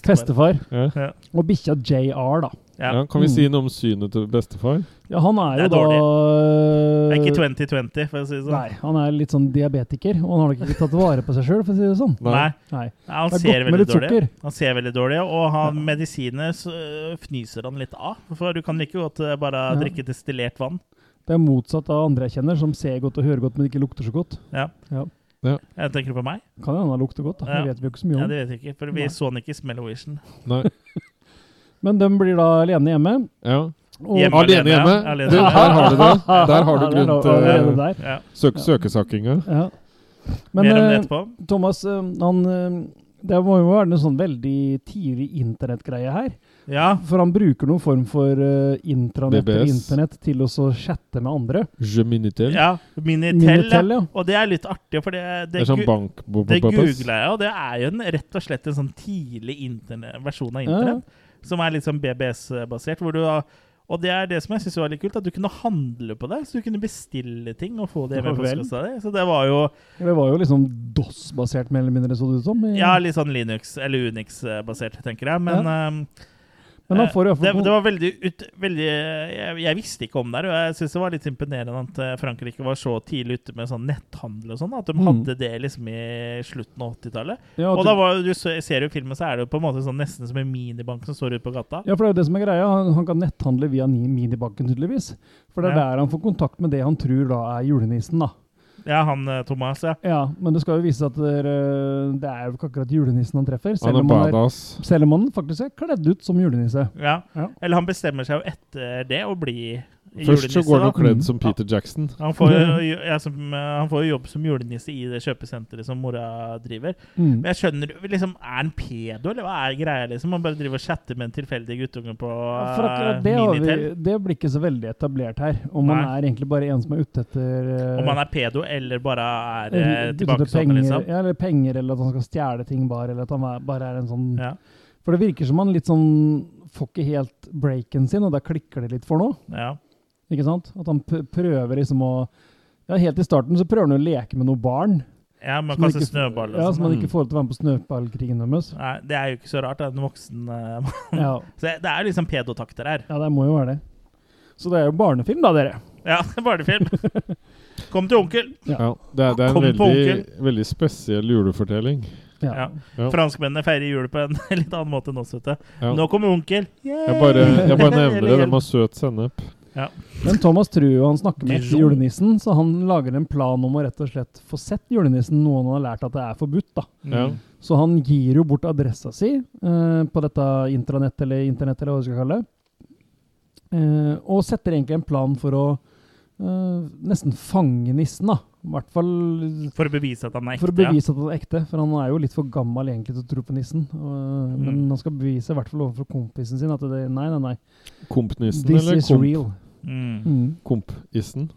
B: Bestefar.
C: Ja.
B: Og bikkja JR, da.
A: Ja.
C: Ja, kan vi
B: Mm.
C: si noe om synet til bestefar?
B: Ja, han er
A: Det
B: jo
A: er
B: da
A: Det er ikke 2020, for å si det sånn.
B: Nei, han er litt sånn diabetiker, og han har nok ikke tatt vare på seg sjøl, for å si det sånn.
A: Nei.
B: Nei.
A: Nei, Han
B: Det er
A: ser
B: godt med
A: veldig
B: litt
A: dårlig
B: sukker.
A: Han ser veldig dårlig, og han
B: Ja.
A: medisiner så, øh, fnyser han litt av. For du kan like godt øh, bare
B: Ja.
A: drikke destillert vann.
B: Det er motsatt av andre jeg kjenner, som ser godt og hører godt, men ikke lukter så godt.
A: Jeg tenker på meg?
B: Kan hende han lukter godt, da.
A: Ja.
B: det vet vi jo ikke så mye
A: Ja,
B: om.
A: det vet jeg ikke, for vi
B: Nei.
A: så han ikke i Smellovision.
C: Nei.
B: Men de blir da alene hjemme.
C: Ja.
B: Og
A: Hjemme.
C: Alene
A: alene, ja.
C: hjemme.
A: Alene
C: Du,
A: hjemme.
C: der har du det. Der har du
B: Ja, det er
C: grunn
B: da- allerede
C: til eh,
B: der.
A: Ja.
C: søk søkesakinga.
B: Ja. Men
A: Mer om det
B: eh,
A: etterpå.
B: Thomas, eh, han eh, Det må jo være noe sånn veldig tidlig internettgreie her.
A: Ja,
B: For han bruker noen form for eh, intranett eller
C: BBS.
B: internett til å så chatte med andre.
C: Je minitel.
A: ja. Minitel.
B: Minitel,
A: ja.
B: ja.
A: Og det er litt artig, for det,
C: Det
A: det,
C: er sånn
A: gu-
C: bank... bo-
A: det
C: bo- bo-
A: googlet jeg, og det er jo en, rett og slett en sånn tidlig interne- versjon av
B: Ja, ja.
A: internett. Som er litt sånn BBS-basert. hvor du da- Og det er det som jeg synes var litt kult, at du kunne handle på det. Så du kunne bestille ting og få det med
B: Ja, vel.
A: postkassa di. Så det var jo
B: Det var jo liksom DOS-basert, mer eller mindre, så det ut som. i-
A: ja, litt sånn Linux- eller Unix-basert, tenker jeg. Men ehm,
B: Men han
A: Eh,
B: får i hvert
A: Det,
B: fall
A: det var veldig, ut, veldig jeg, jeg visste ikke om det, her, og jeg syns det var litt imponerende at eh, Frankrike var så tidlig ute med sånn netthandel og sånn. At de
B: Mm.
A: hadde det liksom i slutten av 80-tallet.
B: ja,
A: Og
B: du-
A: da var, du se- ser jo i filmen, så er det jo på en måte sånn nesten som en minibank som står ute på gata.
B: Ja, for det er jo det som er greia. Han, han kan netthandle via ni- minibanken, tydeligvis. For det er
A: Ja.
B: der han får kontakt med det han tror da er julenissen, da.
A: Ja, han eh, Thomas, ja.
B: Ja, Men det skal jo vise seg at det er, øh, det er jo ikke akkurat julenissen han treffer.
C: Han
B: Selv
C: er
B: om han, er,
C: badass.
B: selv om han faktisk er kledd ut som julenisse.
A: ja.
B: Ja.
A: Eller han bestemmer seg jo etter det å bli
C: Først så
A: julenisse.
C: går han jo
A: da.
C: kledd som Peter Jackson.
A: Han får, jo, ja, som, eh, han får jo jobb som julenisse i det kjøpesenteret som mora driver.
B: Mm.
A: Men jeg skjønner liksom, Er han pedo, eller hva er greia? liksom? Han bare driver og chatter med en tilfeldig guttunge på
B: Ja, For
A: eh,
B: akkurat det, har vi,
A: minitel.
B: det blir ikke så veldig etablert her. Om han
A: Nei.
B: er egentlig bare en som er ute etter øh,
A: Om han er pedo eller bare er eh,
B: ute etter
A: tilbakestående,
B: penger,
A: liksom.
B: ja, eller penger, eller at han skal stjele ting bare, eller at han er, bare er en sånn
A: Ja.
B: For det virker som han litt sånn får ikke helt breaken sin, og der klikker det litt for noe.
A: Ja.
B: Ikke sant? At han p prøver liksom å Ja, helt i starten så prøver han å leke med noen barn.
A: ja, man
B: Som man
A: kaster
B: ikke-
A: snøball
B: Ja,
A: og
B: Som
A: sånn.
B: han
C: Mm.
B: ikke får til å være med på snøballkrigen deres.
A: Nei, det er jo ikke så rart. Det er en voksen eh,
B: Ja,
A: Så det er liksom pedotakter her.
B: ja, det må jo være det. Så det er jo barnefilm, da, dere.
A: Ja, barnefilm. Kom til onkel.
B: Ja.
C: Ja, det er, det er en
A: Kom på
C: veldig, veldig spesiell julefortelling.
A: Ja.
B: Ja.
C: Ja.
A: Franskmennene feirer jul på en litt annen måte enn oss, vet du.
C: Ja.
A: Nå kommer onkel. Yay!
C: Jeg bare, jeg bare nevner det.
A: Eller
C: De har søt sennep.
B: Men Thomas tror jo han snakker med
A: Dijon.
B: julenissen, så han lager en plan om å rett og slett få sett julenissen, noe han har lært at det er forbudt. da.
C: Ja.
A: Mm.
B: Så han gir jo bort adressa si eh, på dette intranett, eller internett, eller hva du skal kalle det. Eh, og setter egentlig en plan for å eh, nesten fange nissen, da. I hvert fall
A: For å bevise at han er ekte.
B: for å bevise at han er ekte, for han er jo litt for gammel egentlig til å tro på nissen. Og, eh, Men
A: Mm.
B: han skal bevise, i hvert fall overfor kompisen sin, at det, nei, nei, nei,
C: Kompnissen,
B: this
C: eller
B: is
C: komp,
B: real.
A: Ja. Mm.
B: Mm.
C: kompisen?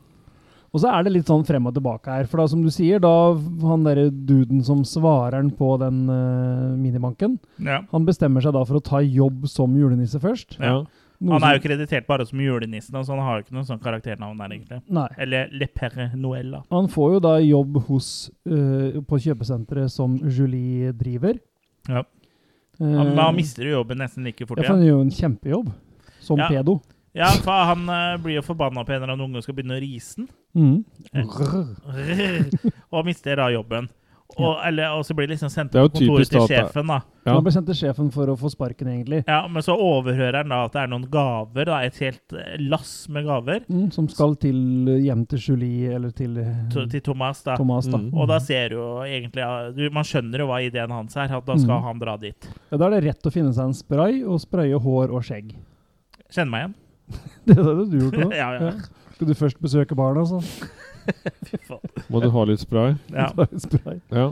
B: Og så er det litt sånn frem og tilbake her. For da, som du sier, da han derre duden som svarer han på den eh, minibanken,
A: Ja.
B: han bestemmer seg da for å ta jobb som julenisse først.
A: Ja.
C: Ja.
A: Han er jo kreditert bare som julenissen, så han har jo ikke noe sånn karakternavn der, egentlig.
B: Nei.
A: Eller Le Père Noël, da.
B: Han får jo da jobb hos, eh, på kjøpesenteret som Julie driver.
A: Ja.
B: Eh,
A: Han, da mister du jobben nesten like fort
B: ja, for han
A: igjen.
B: gjør jo en kjempejobb som
A: Ja.
B: pedo.
A: Ja, for han eh, blir jo forbanna på en eller annen unge som skal begynne å rise den. Eh,
B: Mm.
A: Rrr. Og mister da jobben. Og, eller, og så blir det liksom sendt
C: Det er
A: på
C: jo
A: kontoret
C: typisk
A: til
C: at det-
A: sjefen, da.
B: Så
C: Ja.
B: Han ble sendt til sjefen for å få sparken, egentlig.
A: Ja, Men så overhører han da at det er noen gaver. da, Et helt eh, lass med gaver
B: Mm, som skal til eh, hjem til Julie, eller til eh,
A: to- til Thomas. da.
B: Thomas, da.
C: Mm.
A: Og da ser du jo egentlig ja, du, Man skjønner jo hva ideen hans er, at da skal
B: Mm.
A: han dra dit.
B: Ja, da er det rett å finne seg en spray og spraye hår og skjegg.
A: Kjenner meg igjen.
B: Det hadde du gjort òg.
A: Ja, ja.
B: Skal du først besøke barna, så
A: Fy faen.
C: Må du ha litt spray?
A: Ja.
B: ta en spray.
C: Ja.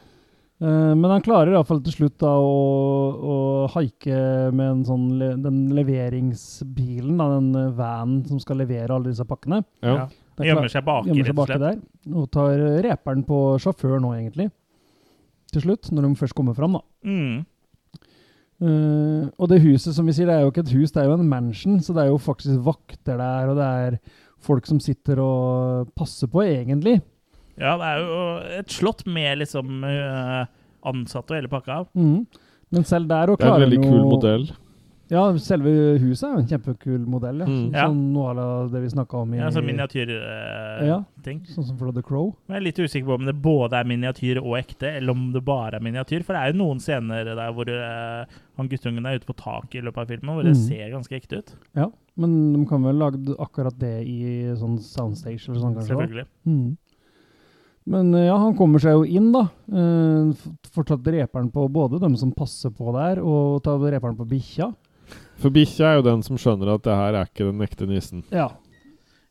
B: Eh, men han klarer iallfall til slutt da å, å haike med en sånn, le, den leveringsbilen, da, den eh, vanen som skal levere alle disse pakkene.
C: ja.
A: Ja.
B: Det er
A: Han Gjemmer
B: klart-
A: seg baki,
B: gjemmer
A: rett
B: seg
A: og
B: baki
A: slett.
B: der. Og tar eh, reperen på sjåfør nå, egentlig. Til slutt, når de først kommer fram, da.
A: Mm.
B: Eh, og det huset som vi sier, det er jo ikke et hus, det er jo en mansion, så det er jo faktisk vakter der, og det er folk som sitter og passer på, egentlig.
A: Ja, det er jo et slott med liksom eh, ansatte og hele pakka.
B: Mhm. Men selv der òg
C: Det er en
B: klarer
C: veldig
B: han
C: kul
B: jo-
C: modell.
B: Ja, selve huset er jo en kjempekul modell, ja.
C: Mm.
A: Ja.
B: Sånn noe av det vi snakka om i
A: Ja, sånn miniatyrting.
B: Ja.
A: ting
B: Sånn som for The Crow.
A: Men jeg er litt usikker på om det både er miniatyr og ekte, eller om det bare er miniatyr. For det er jo noen scener der hvor eh, han guttungen er ute på taket i løpet av filmen, hvor det
B: Mm.
A: ser ganske ekte ut.
B: Ja, men de kan vel lage akkurat det i sånn soundstage eller sånn, kanskje? da?
A: Selvfølgelig.
B: Mhm. Men eh, ja, han kommer seg jo inn, da. Eh, f- Får tatt reperen på både dem som passer på der, og tar reperen på bikkja.
C: For bikkja er jo den som skjønner at det her er ikke den ekte nissen.
B: Ja.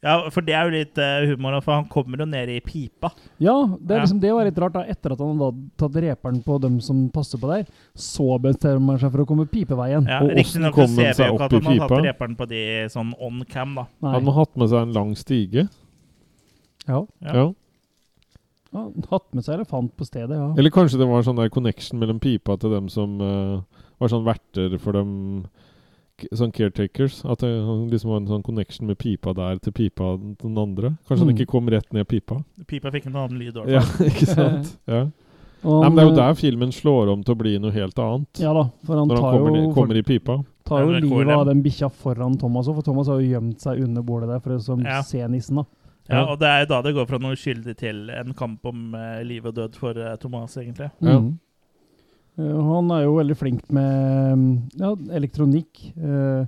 A: Ja, for det er jo litt eh, humor, for han kommer jo ned i pipa.
B: Ja, det,
A: Ja.
B: er liksom, det var litt rart. da, Etter at han hadde tatt reperen på dem som passer på der, så bestemmer han seg for å komme pipeveien.
A: Ja,
C: Og hvordan
A: Riktignok
C: kom
A: ser
C: han
A: vi
C: seg
A: jo ikke
C: opp
A: at
C: i
A: han har tatt
C: pipa?
A: reperen på de sånn on cam, da.
B: Nei.
C: Han må ha hatt med seg en lang stige.
B: ja.
A: Ja.
C: Ja.
B: Ja, hatt med seg elefant på stedet, ja.
C: Eller kanskje det var en sånn der connection mellom pipa til dem som eh, var sånn verter for dem k- Sånn caretakers. At det han liksom var en sånn connection med pipa der til pipa den- den andre. Kanskje
B: Mm.
C: han ikke kom rett ned pipa.
A: Pipa fikk en annen lyd. i hvert
C: Ja,
A: fall.
C: ikke sant? Ja.
B: Og
C: Nei, men
B: han,
C: det er jo
B: eh,
C: der filmen slår om til å bli noe helt annet.
B: Ja da, for han
C: Når han
B: tar
C: kommer,
B: jo,
C: ned, kommer i pipa.
B: tar jo
A: Ja, det er
B: livet
A: KLM.
B: av den bikkja foran Thomas òg, for Thomas har jo gjemt seg under bordet der for å som,
A: Ja.
B: se nissen, da.
A: Ja, og det er jo da det går fra noe skyldig til en kamp om eh, liv og død for eh, Thomas, egentlig.
C: Ja.
B: Mhm. Eh, og han er jo veldig flink med mm, ja, elektronikk. Eh,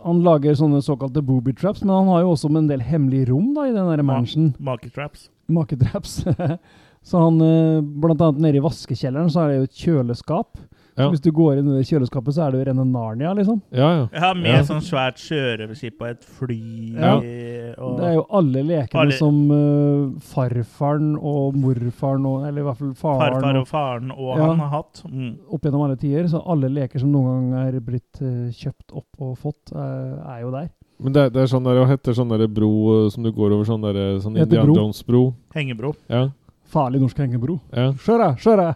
B: han lager sånne såkalte booby traps, men han har jo også med en del hemmelige rom da, i den der mansion.
A: Marketraps.
B: Maketraps. så han, eh, blant annet nede i vaskekjelleren, så er det jo et kjøleskap.
C: Ja,
B: Hvis du går inn i det kjøleskapet, så er det jo rene Narnia, liksom.
C: ja. ja.
A: Ja, med
C: Ja.
A: sånn svært sjørøverskip og et fly
B: Ja.
A: og
B: Det er jo alle lekene
A: Alle-
B: som eh, farfaren og morfaren, og, eller i hvert fall faren,
A: farfar og faren og
B: Ja.
A: han har hatt. Mm.
B: og, opp gjennom alle tider. Så alle leker som noen gang er blitt eh, kjøpt opp og fått, eh, er jo der.
C: Men det, er- det er sånn der, hva heter sånn der bro eh, som du går over sånn der, eh, sånn
B: Heter
C: Indian
B: bro.
C: Jones-bro?
A: Hengebro.
C: Ja,
B: Farlig norsk hengebro.
C: ja,
B: Sjøra, sjøra!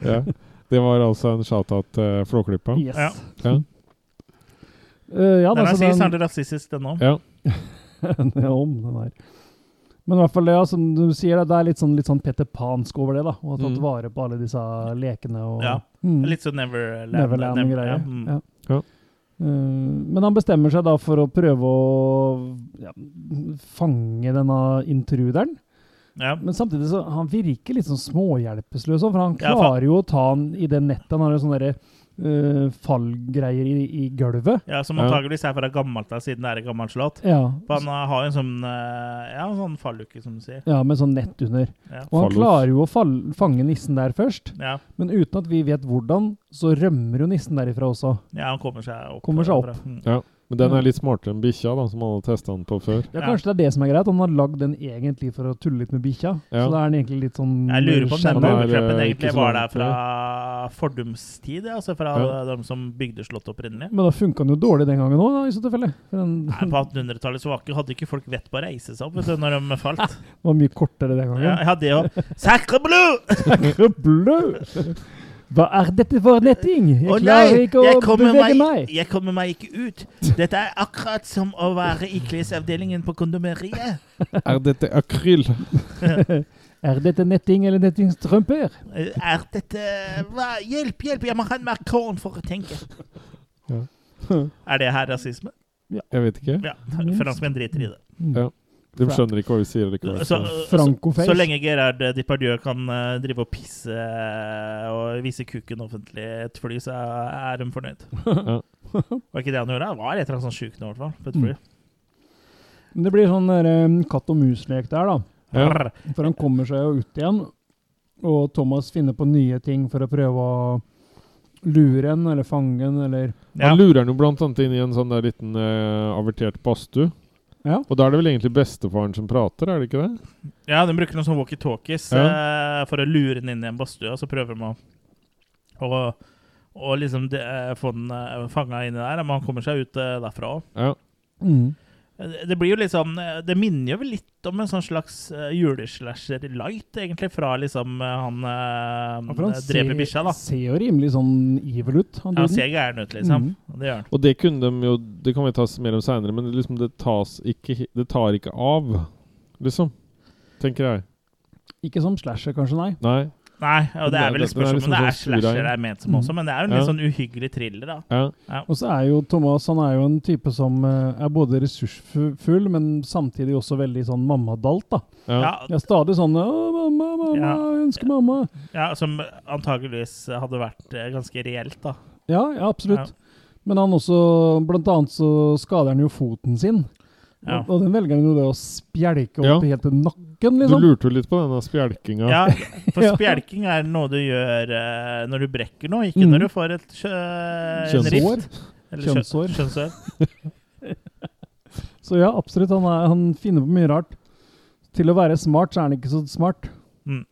C: ja. Det var altså en shout-out til Flåklypa.
B: Yes.
A: Ja.
C: Ja.
B: Eh, ja,
A: Den
B: da,
A: er
B: så
A: sikkert
B: den-
A: snart rasistisk, den òg.
C: ja.
B: Ja, om den her. Men i hvert fall, ja, som du sier, det, det er litt sånn, litt sånn Peter Pansk over det, da. Og har tatt
C: Mm.
B: vare på alle disse lekene og
A: Ja,
B: Mm.
A: Litt sånn Neverland.
B: Neverland-greier.
A: ja, mm.
B: Ja.
C: Ja.
B: Eh, men han bestemmer seg da for å prøve å ja, fange denne intruderen.
A: Ja.
B: Men samtidig så han virker litt sånn småhjelpeløs, også, for han
A: Ja, for-
B: klarer jo å ta han i det nettet. Han har jo sånne derre, eh, fallgreier i, i gulvet.
A: ja, Som
C: Ja.
A: antageligvis er fra gammelt av, siden det er et gammelt slott.
B: Ja,
A: For han eh, har jo en sånn eh, Ja, en sånn falluke, som du sier.
B: ja, med sånn nett under.
A: Ja.
B: Og han
C: Fallos.
B: klarer jo å fall, fange nissen der først.
A: Ja,
B: Men uten at vi vet hvordan, så rømmer jo nissen derifra også.
A: ja han kommer seg opp.
B: Kommer seg opp.
A: derfra. Mm.
C: Men den er litt smartere enn bikkja, da, som han hadde testa den på før.
A: Ja.
B: Ja, Kanskje det er det som er greit. Han har lagd den egentlig for å tulle litt med bikkja.
C: Ja.
B: Så da er den egentlig litt sånn
A: Jeg lurer på om den
C: Han er,
B: skjermet.
A: booby-trappen
C: eh,
A: egentlig
C: ikke så
A: var der
C: langt
A: fra fordumstid, ja, altså fra
C: Ja.
A: de som bygde slottet opprinnelig.
B: Men da funka den jo dårlig den gangen òg, i så tilfelle. For
A: Nei,
B: Den
A: På 1800-tallet så var ikke, hadde ikke folk vett på å reise seg opp vet du, når de falt.
B: var mye kortere den
A: Ja,
B: gangen.
A: ja, det og Sacre bleu!
B: Blø! Hva er dette for netting? Jeg
A: Å
B: klarer
A: nei,
B: ikke å
A: jeg kommer,
B: bevege
A: meg,
B: meg!
A: jeg kommer meg ikke ut. Dette er akkurat som å være i klesavdelingen på kondomeriet.
C: Er dette akryl?
B: Er dette netting eller nettingstrømper?
A: Eh, Er dette hva? Hjelp, hjelp, jeg må ha en Macron for å tenke.
C: Ja.
A: Er det her rasisme?
C: Jeg vet ikke.
A: Ja, franskmenn driter i det.
C: De skjønner ikke hva vi sier. eller hva vi
A: Så,
C: sier.
B: Franco-face.
A: Så lenge Gerard Depardieu kan eh, drive og pisse eh, og vise kuken offentlig i et fly, så er de fornøyd. Var ikke det han gjorde? Det var et eller annet sånn sjukt nå, i hvert fall. På et fly.
B: Men Det blir sånn der, eh, katt og mus-lek der, da.
C: Ja.
A: Brr.
B: For han kommer seg jo ut igjen, og Thomas finner på nye ting for å prøve å lure en, eller fange en, eller
A: Ja.
C: Han lurer den jo blant annet inn i en sånn der liten eh, avertert badstue.
B: Ja.
C: Og da er det vel egentlig bestefaren som prater, er det ikke det?
A: ja, de bruker noen sånne walkietalkies eh, for å lure den inn i en badstue, og så prøver de å, å, å liksom de, eh, få den uh, fanga inni der. Men han kommer seg ut eh, derfra òg.
C: Ja.
A: Det blir jo litt sånn eh, Det minner jo vel litt om en sånn slags eh, juleslasher light, egentlig, fra liksom eh, han, eh,
B: Ja, for han
A: eh, dreper bikkja, da.
B: ser jo rimelig sånn evil ut. Han Mm.
A: Ja, han
B: duden.
A: ser gæren ut, liksom.
B: Mhm.
A: Det gjør han.
C: Og det kunne de jo Det kan vi ta mer om seinere, men liksom det tas ikke he- Det tar ikke av, liksom. Tenker jeg.
B: Ikke som slasher, kanskje, nei.
C: Nei.
A: Nei, og det er vel et
C: Det- det- det er
A: spørsmål om det
C: liksom
A: er
C: sånn surrein.
A: slasher det er ment som også, men det er jo en litt
C: Ja.
A: sånn uhyggelig thriller, da.
C: Ja.
B: Og så er jo Thomas han er jo en type som eh, er både ressursfull, men samtidig også veldig sånn mammadalt. da.
C: Ja.
A: Ja,
B: Det er stadig sånn 'Å, mamma, mamma,
A: Ja.
B: jeg ønsker mamma'.
A: ja Som antageligvis hadde vært eh, ganske reelt, da.
B: Ja, ja, absolutt. Men han også Blant annet så skader han jo foten sin.
A: Ja.
B: Og, og den velger han jo det å spjelke opp
C: Ja.
B: helt til
C: Du
B: nakken, liksom.
C: lurte jo litt på denne spjelkinga.
A: Ja, for
B: Ja.
A: spjelking er noe du gjør eh, når du brekker noe, ikke
B: Mhm.
A: når du får et kjø eh, en
C: Kjønnshår.
A: rift.
B: Sår.
A: Eller kjø-
B: Kjønnshår.
A: kjønnshår.
B: Så ja, absolutt. Han, er, han finner på mye rart. Til å være smart, så er han ikke så smart.
C: Nei,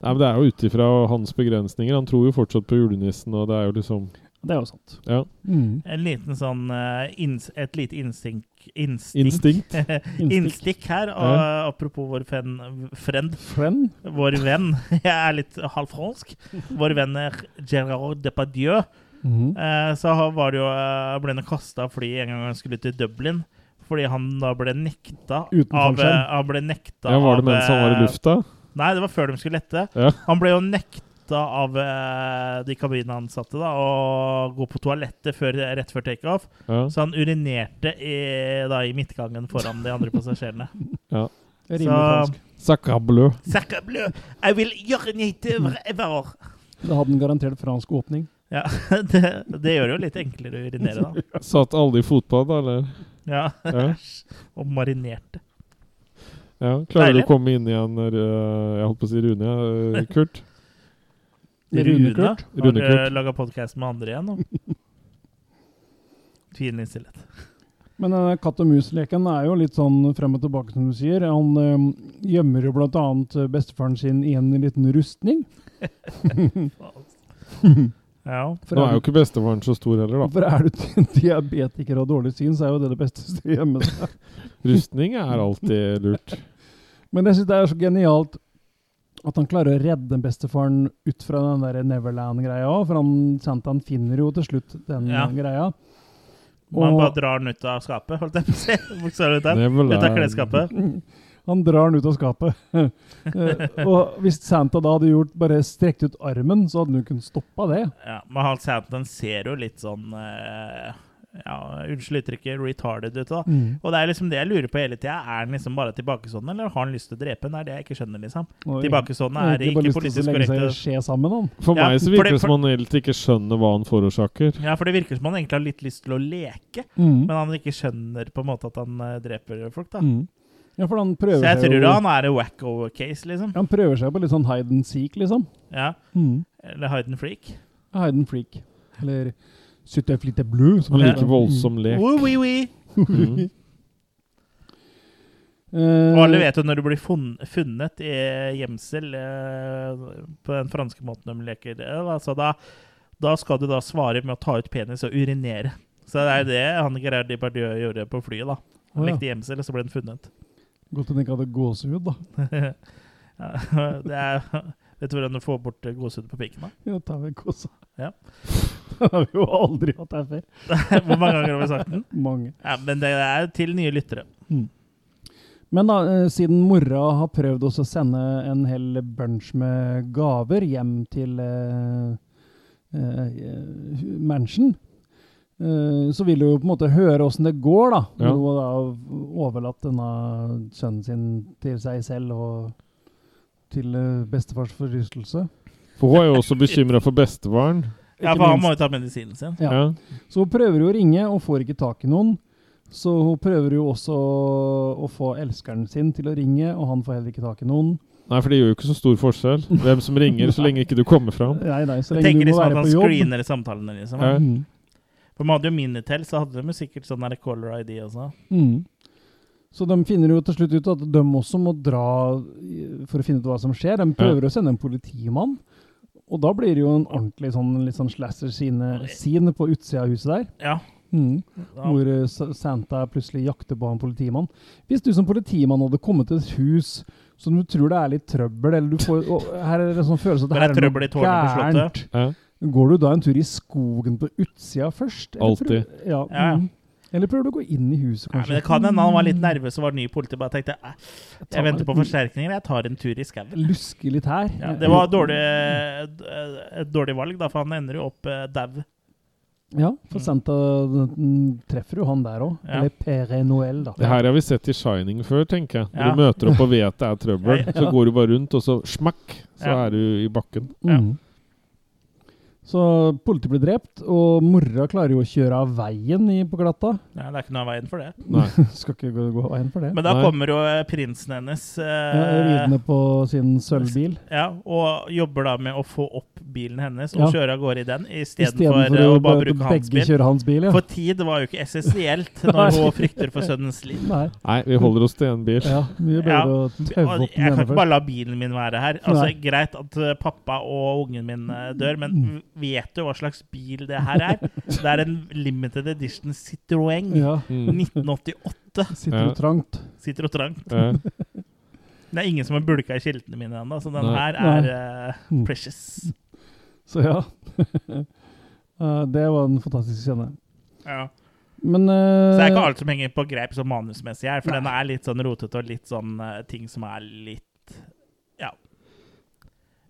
C: men Det er jo ut ifra hans begrensninger. Han tror jo fortsatt på julenissen, og det er jo liksom
B: Det er jo sant.
C: Ja.
B: Mm.
A: En liten sånn eh, inns, Et lite instinkt Instinkt.
C: instinkt.
B: Instinkt.
A: Innstikk her. Og apropos vår fen, friend
B: Friend.
A: Vår venn Jeg er litt halvfransk. Vår venn er Gerard Depardieu.
B: Mhm.
A: Eh, så ha- var det jo, eh, ble han kasta av flyet en gang han skulle til Dublin. Fordi han da ble nekta
B: Uten
A: av eh,
B: fallskjerm.
A: Han ble nekta
C: Ja, Var
A: av,
C: det mens han var i
A: eh,
C: lufta?
A: Nei, det var før de skulle lette.
C: Ja.
A: Han ble jo nekta av eh, de kabinansatte da, å gå på toalettet før, rett før takeoff.
C: Ja.
A: Så han urinerte i, da, i midtgangen foran de andre passasjerene.
B: Rimelig
A: Så-
B: fransk.
C: Sacrableu.
A: Sacre bleu, I will urinate wherever.
B: Da hadde han garantert fransk åpning.
A: Ja, det, det gjør det jo litt enklere å urinere, da.
C: Satt alle i fotbad, da, eller?
A: Ja,
C: Ja.
A: Og marinerte.
C: ja. Klarer du
A: Deilig.
C: å komme inn igjen, eh, jeg holdt på å si Rune, eh, Kurt?
B: Rune Kurt.
A: Har
C: Rune Kurt.
A: eh, laga podkast med andre igjen nå. Tvilende stillhet.
B: Men eh, katt og mus-leken er jo litt sånn frem og tilbake, som du sier. Han eh, gjemmer jo blant annet eh, bestefaren sin i en liten rustning.
A: Ja.
B: For
C: Nå er jo ikke bestefaren så stor heller, da.
B: for er du diabetiker og dårlig syn, så er jo det det beste stedet å gjemme seg.
C: Rustning er alltid lurt.
B: Men jeg syns det er så genialt At han klarer å redde bestefaren ut fra den der Neverland-greia òg, for han, Santan finner jo til slutt den
A: Ja.
B: greia.
A: Man
B: Og-
A: bare drar den ut av skapet, holdt jeg på å si. Hvor ser det ut der? Ut av klesskapet.
B: Han drar den ut av skapet. Eh, og hvis Santa da hadde gjort, bare strekt ut armen, så hadde hun kunnet stoppa det.
A: Ja, men han sier at den ser jo litt sånn eh, Ja, unnskyld uttrykket, retarded ut, da. Og det er liksom det jeg lurer på hele tida. Er han liksom bare tilbakestående, eller har han lyst til å drepe den? Det er det jeg ikke skjønner, liksom.
B: Og
A: Tilbakestående er
B: egentlig bare
A: ikke
B: lyst til å
A: politisk
B: legge seg i
A: korrekt.
B: skje sammen, han.
C: For
A: Ja,
C: meg så
A: for det-
C: virker det
A: for-
C: som han helt ikke skjønner hva han forårsaker.
A: Ja, for det virker som han egentlig har litt lyst til å leke,
B: Mm.
A: men han ikke skjønner på en måte at han eh, dreper folk, da.
B: Mm. Ja, for han
A: Så
B: prøver
A: jeg
B: seg
A: tror
B: jo
A: han er en wacko-case, liksom.
B: Han prøver seg på litt sånn hide and seek, liksom.
A: Ja.
B: Mm.
A: Eller hide and freak.
B: Hide and freak. Eller Sutte flitte blue, som
C: Han
B: det
C: liker
B: heter.
C: voldsom lek.
A: Woo, wee, wee.
C: Mm.
B: Mm. Eh,
A: Og alle vet jo når du blir fun- funnet i gjemsel eh, på den franske måten de leker det, altså da, da skal du da svare med å ta ut penis og urinere. Så det er det han Gerard Depardieu gjorde på flyet. da. Han
B: Å, ja.
A: lekte gjemsel, og så ble han funnet.
B: Godt hun ikke hadde gåsehud, da.
A: Ja, det er, vet du hvordan du får bort eh, gåsehud på pikken? da?
B: Ja, tar vi gåsa.
A: Ja.
B: det har vi jo aldri hatt her før.
A: Hvor mange ganger har vi sagt den?
B: Mange.
A: Ja, men det er til nye lyttere.
B: Men da, eh, siden mora har prøvd også å sende en hel bunch med gaver hjem til eh, eh, eh, mansion, eh, så vil hun jo på en måte høre åssen det går, da.
C: Ja.
B: Hun har da overlatt denne sønnen sin til seg selv og til eh, bestefars forrystelse.
C: For hun er jo også bekymra for bestefaren.
A: Ja,
B: Ikke
A: for han
B: minst.
A: må jo ta medisinen sin.
B: Ja.
C: Ja.
B: Så hun prøver jo å ringe og får ikke tak i noen. Så hun prøver jo også å få elskeren sin til å ringe, og han får heller ikke tak i noen.
C: Nei, for det gjør jo ikke så stor forskjell hvem som ringer, så lenge ikke du kommer fram.
B: Nei, nei, så
A: Jeg
B: lenge
A: tenker
B: du må
A: liksom at
B: være
A: han
B: på jobb.
A: screener samtalene. liksom.
C: Ja.
B: Mm.
A: For man hadde jo Minitel, så hadde de jo sikkert sånn der caller ID også.
B: Mm. Så de finner jo til slutt ut at de også må dra eh, for å finne ut hva som skjer. De prøver å sende en politimann, og da blir det jo en ordentlig sånn, litt sånn slasher-scene scene på utsida av huset der.
A: Ja.
B: Mm.
A: da-
B: Hvor eh, Sa- Santa plutselig jakter på en politimann. Hvis du som politimann hadde kommet til et hus som du tror det er litt trøbbel eller du får, og Her er det sånn følelse at
A: Det er
B: her er det
A: trøbbel i
B: noe
A: tårnet på slottet.
B: gærent.
C: Ja.
B: Går du da en tur i skogen på utsida først? eller
C: Altid.
B: prøver- Ja.
A: Ja, ja.
B: Mm. Eller prøver du å gå inn i huset,
A: Nei,
B: kanskje?
A: men det kan hende han var litt nervøs og var ny i politiet. Bare tenkte "Eh, jeg
B: tar meg
A: venter på
B: litt-
A: forsterkninger, jeg tar en tur i skauen.
B: Luske litt her.
A: Ja, det var dårlig, eh, et dårlig valg, da, for han ender jo opp eh, dau.
B: Ja, for
A: Mm.
B: Santa mm, treffer jo han der òg.
A: Ja.
B: Eller Pere Noel, da.
C: Det her har vi sett i Shining før, tenker jeg. Når
A: Ja.
C: du møter opp og vet det er trøbbel, så går du bare rundt, og så smakk, så
A: Ja.
C: er du i bakken.
A: Ja.
B: Mm. Så politiet blir drept, og mora klarer jo å kjøre av veien i, på glatta.
A: Ja, det er ikke noe av veien for det.
C: Nei.
B: Skal ikke gå, gå av veien for det.
A: Men da
C: Nei.
A: kommer jo eh, prinsen hennes eh,
B: ja, ridende på sin sølvbil.
A: ja, og jobber da med å få opp bilen hennes og
B: Ja.
A: kjøre av gårde i den, istedenfor å
B: Istedenfor å
A: bare
B: bare
A: bruke hans
B: begge
A: bil.
B: kjøre hans bil. Ja.
A: For tid var jo ikke essensielt når hun frykter for sønnens liv.
B: Nei,
C: Nei, vi holder oss til én bil.
B: ja, mye bedre
A: Ja.
B: å tøve
A: Og
B: opp den
A: Jeg kan
B: ene
A: ikke
B: først.
A: bare la bilen min være her. Altså,
B: Nei.
A: Greit at eh, pappa og ungen min eh, dør, men v-
B: Mm.
A: vet du hva slags bil det her er? Det er en limited edition Citroën.
B: Ja,
C: Mm.
A: 1988.
B: sitter
C: Ja.
B: jo trangt.
A: Sitter og trangt.
C: Ja.
A: Det er ingen som har bulka i kiltene mine ennå, så den
C: Nei.
A: her er eh,
B: Mm.
A: precious.
B: Så ja. Eh, det var en fantastisk scene.
A: Ja.
B: Men
A: Så det er ikke
B: eh,
A: alt som henger på greip sånn manusmessig her, for
B: Nei.
A: den er litt sånn rotete og litt sånn eh, ting som er litt Ja.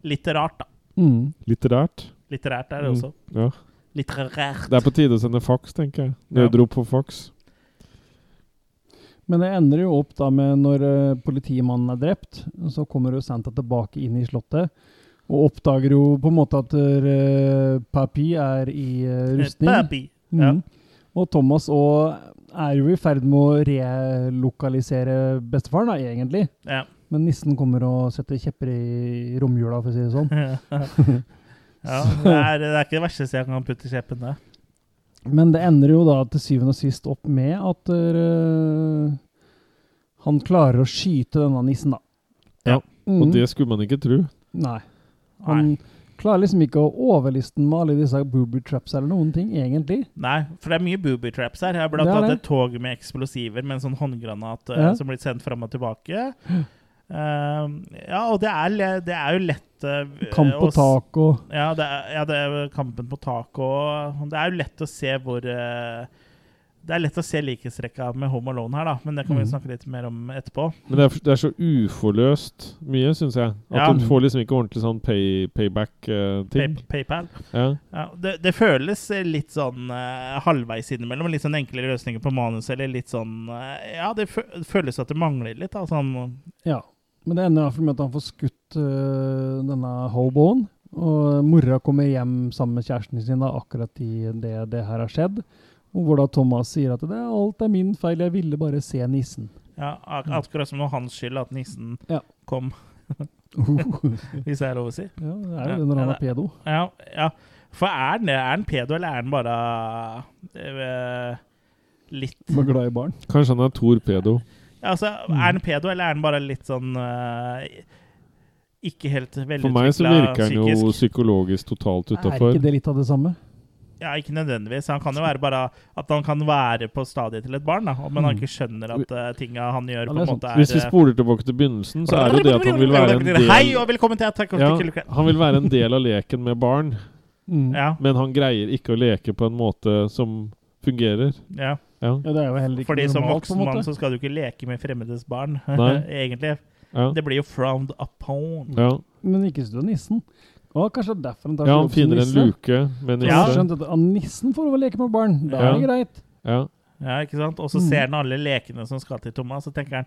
A: Litt rart, da.
B: mm.
C: Litterært.
A: Litterært er det
C: Mm.
A: også.
C: Ja.
A: Litterært.
C: Det er på tide å sende faks, tenker jeg. Nødrop på faks.
B: Men det ender jo opp da med når eh, politimannen er drept, så kommer jo Santa tilbake inn i slottet. Og oppdager jo på en måte at eh, Papi er i eh, rustning.
A: Baby.
B: Mm.
A: Ja.
B: Og Thomas òg er jo i ferd med å relokalisere bestefaren, da, egentlig.
A: Ja.
B: Men nissen kommer og setter kjepper i romjula, for å si det sånn.
A: ja, det er, det er ikke det verste jeg kan putte i kjeppen. det.
B: Men det ender jo da til syvende og sist opp med at eh, han klarer å skyte denne nissen, da.
A: Ja.
B: Mhm.
C: Og det skulle man ikke tro.
B: Nei. Han klarer liksom ikke å overliste den med alle disse booby traps eller noen ting, egentlig.
A: Nei, for det er mye booby traps her. Jeg har blant
B: Det er
A: annet
B: det.
A: et tog med eksplosiver med en sånn håndgranat eh,
B: Ja.
A: som blir sendt fram og tilbake. Eh, ja, og det er, le- det er jo lett eh,
B: Kamp
A: å
B: på
A: s-
B: taco.
A: Ja, det er, ja, det er kampen på taket og Det er jo lett å se hvor eh, Det er lett å se likhetstrekka med Home Alone her, da, men det kan vi
B: Mhm.
A: snakke litt mer om etterpå.
C: Men det er, det er så uforløst mye, syns jeg. At
A: Ja.
C: du får liksom ikke ordentlig sånn pay,
A: Pay,
C: payback-ting.
A: PayPal.
C: ja.
A: Ja, det, det føles litt sånn eh, halvveis innimellom. Litt sånn enkle løsninger på manus, eller litt sånn eh, Ja, det fø føles at det mangler litt, da. Sånn
B: Ja. Men det ender i hvert fall med at han får skutt øh, denne hoboen. Og mora kommer hjem sammen med kjæresten sin da, akkurat i det det her har skjedd. Og hvor da Thomas sier at det er alt er min feil, jeg ville bare se nissen.
A: ja, ak
B: Mm.
A: akkurat som det var hans skyld at nissen
B: Ja.
A: kom, hvis det er lov å si.
B: Ja, det er jo det når han
A: Ja,
B: er pedo.
A: Ja, ja. For er den, er den pedo, eller er den bare eh, litt
B: Som er glad i barn.
C: Kanskje han er torpedo.
A: Altså,
B: Mm.
A: er den pedo, eller er den bare litt sånn eh, ikke helt
C: For meg så
A: velutvikla
C: virker han jo
A: psykisk?
C: psykologisk totalt
B: Er
C: utafor.
B: ikke det litt av det samme?
A: Ja, ikke nødvendigvis. Han kan jo være bare at han kan være på stadiet til et barn, da, men han
B: Mm.
A: ikke skjønner at uh, tinga han gjør,
B: Ja,
A: på
B: det
A: en
B: er
A: måte er
C: Hvis vi
A: eh,
C: spoler tilbake til begynnelsen, så er det jo det at han vil være en
A: Hei,
C: del
A: og velkommen til Attack of
C: ja,
A: the Killer Clan.
C: Han vil være en del av leken med barn,
B: Mm.
A: Ja,
C: men han greier ikke å leke på en måte som fungerer.
A: ja.
C: Ja,
B: Ja, det er jo heller ikke
A: Fordi som
B: normalt, på
A: voksen
B: en
A: mann
B: måte.
A: så skal du ikke leke med fremmedes barn,
C: Nei.
A: egentlig.
C: ja,
A: Det blir jo frowned upon.
C: ja.
B: Men ikke stå nissen. Å, kanskje det er derfor han tar
C: ja
B: seg
C: han
B: opp som
C: finner en
B: nisse.
C: luke med
B: Ja.
A: Ja.
C: nisse.
B: Skjønt at ah, nissen får lov å leke med barn. Da er det greit.
C: Ja.
A: Ja, ikke sant? Og så
B: Mm.
A: ser han alle lekene som skal til Thomas, og tenker han